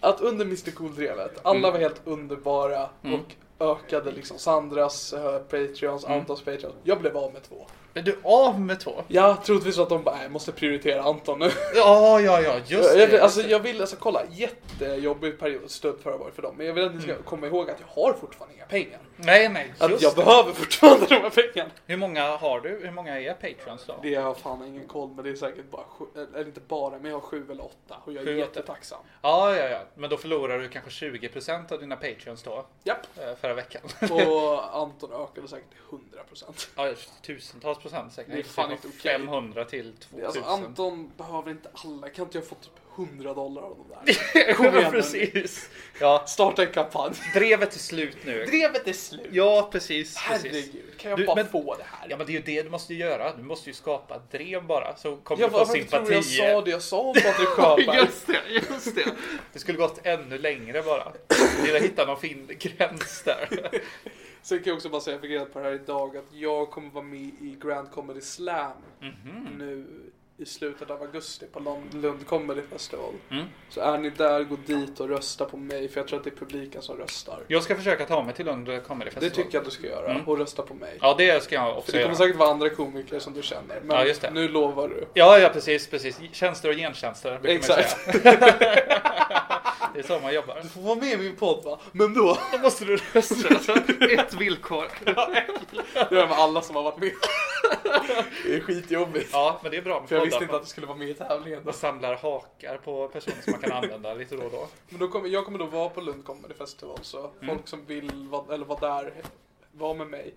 S4: Att under Mr Cool-drevet, alla var helt underbara och ökade liksom Sandras, eh, Patreons, Antons Patreons. Jag blev av med två.
S5: Är du av med två?
S4: Jag troligtvis att de bara, "Nej, jag måste prioritera Anton nu.
S5: Ja, ja, ja, just
S4: Jag,
S5: det.
S4: alltså jag vill, alltså kolla, jättejobbig period, stöd förra året för dem. Men jag vill att ni ska komma ihåg att jag har fortfarande inga pengar.
S5: Nej, nej,
S4: Att
S5: just
S4: jag
S5: det.
S4: behöver fortfarande de här pengarna.
S5: Hur många har du? Hur många är Patreons då?
S4: Det har jag fan ingen koll men det är säkert bara sju, eller inte bara, men jag har sju eller åtta och jag är
S5: Sju, åtta.
S4: jättetacksam.
S5: Ja, ja, ja. Men då förlorar du kanske 20% av dina Patreons då,
S4: Japp.
S5: eh, förra veckan.
S4: Och Anton ökade säkert till 100%.
S5: Ja, tusentals procent säkert.
S4: Det är fan inte okej.
S5: 500 till 2000.
S4: Alltså Anton behöver inte alla, kan inte jag få typ 100 dollar av de där? Kom igen
S5: ja,
S4: nu.
S5: precis. Ja,
S4: Starta en kampanj.
S5: drevet är slut nu.
S4: Drevet är slut.
S5: Ja, precis. precis.
S4: Herregud, kan jag
S5: Du,
S4: bara
S5: men-
S4: få det här?
S5: Ja, men det är ju det du måste göra. Du måste ju skapa ett drev bara. Så kommer
S4: Jag
S5: du få
S4: varför tror
S5: sympati.
S4: jag sa det jag sa om Patrik Sjöberg?
S5: det, just det. Det skulle gått ännu längre bara. Vill jag hitta någon fin gräns där.
S4: Sen kan jag också bara säga, jag fick reda på det här idag, att jag kommer vara med i Grand Comedy Slam
S5: Mhm.
S4: nu i slutet av augusti på Lund, Lund Comedy Festival.
S5: Mm.
S4: Så är ni där, gå dit och rösta på mig, för jag tror att det är publiken som röstar.
S5: Jag ska försöka ta mig till Lund Comedy
S4: Det
S5: Festival.
S4: tycker jag att du ska göra,
S5: Mm.
S4: och rösta på mig.
S5: Ja, det ska jag
S4: För
S5: också
S4: det kommer
S5: göra.
S4: säkert vara andra komiker som du känner, men
S5: Ja, just det.
S4: nu lovar du.
S5: Ja, ja, precis, precis. Tjänster och gentjänster. brukar man ju
S4: Exakt.
S5: säga. Det är så man jobbar.
S4: Du får vara med i min podd va? Men då,
S5: Då måste du rösta. Ett villkor.
S4: det gör jag med alla som har varit med. Det är skitjobbigt.
S5: Ja, men det är bra med
S4: För jag
S5: poddar.
S4: visste inte att du skulle vara med i tävlingen.
S5: Man samlar hakar på personer som man kan använda lite då och då.
S4: Men då kommer, jag kommer då vara på Lund Comedy Festival så folk som vill vara, eller vara där, var med mig.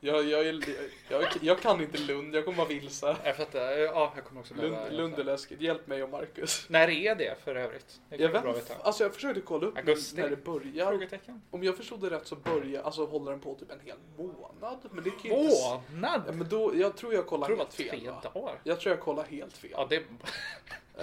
S4: Jag, jag, är, jag, jag kan inte Lund, jag kommer vara vilse.
S5: Jag fattar. eh, Ja, jag kommer också
S4: Lund,
S5: behöva...
S4: Lund är läskigt, hjälp mig och Marcus.
S5: När är det för övrigt? Det
S4: Jag
S5: kan vara bra att
S4: vet
S5: veta.
S4: alltså jag försökte kolla upp
S5: Augusti?
S4: när det börjar.
S5: Frågetecken.
S4: Om jag förstod det rätt så börjar, alltså håller den på typ en hel månad. Men det kan ju inte... s- Ja,
S5: Månad?
S4: men då, jag tror jag kollar
S5: Jag tror det
S4: helt
S5: var
S4: fel
S5: tre
S4: va?
S5: dagar.
S4: Jag tror jag kollar helt fel.
S5: Ja, det...
S4: Eh,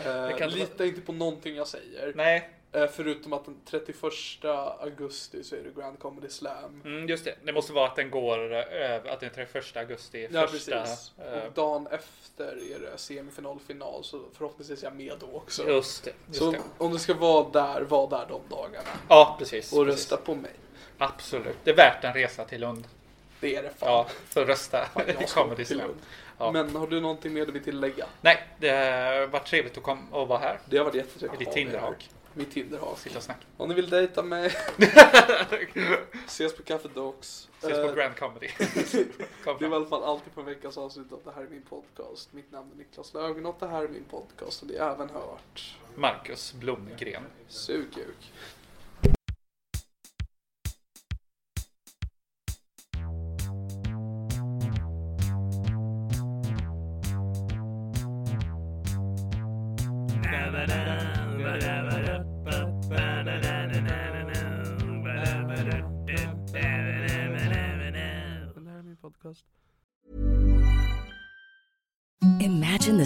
S5: kan inte vara-
S4: lita inte på någonting jag säger.
S5: Nej.
S4: Eh, förutom att den 31 augusti så är det Grand Comedy Slam.
S5: Mm, just det. Det måste vara att den går över, att den är 31 augusti.
S4: Ja
S5: första,
S4: precis.
S5: eh,
S4: Och dagen efter är det semifinal, final så förhoppningsvis är jag med då också.
S5: Just det. Just
S4: så
S5: det.
S4: om du ska vara där, var där de dagarna.
S5: Ja, precis.
S4: Och
S5: precis.
S4: rösta på mig.
S5: Absolut. Det är värt en resa till Lund.
S4: Det är det fan.
S5: Ja, så rösta i
S4: jag ska
S5: Comedy
S4: till
S5: Slam.
S4: Lund.
S5: Ja.
S4: Men har du någonting mer du vill tillägga?
S5: Nej, det har varit trevligt att, kom, att vara här.
S4: Det har varit jättetrevligt.
S5: Är det
S4: att ha dig
S5: Tinderhak?
S4: här. Mitt Tinderhak.
S5: Sitta och snacka.
S4: Om ni vill dejta mig, ses på Café Docs.
S5: Ses
S4: Eh,
S5: på Grand Comedy. Kom
S4: Det var i
S5: fram.
S4: alla fall alltid på veckans avsnitt av Det här är min podcast. Mitt namn är Niklas Löfgren och det här är min podcast. Och det är även hört.
S5: Marcus Blomgren.
S4: Suguk.
S6: Imagine the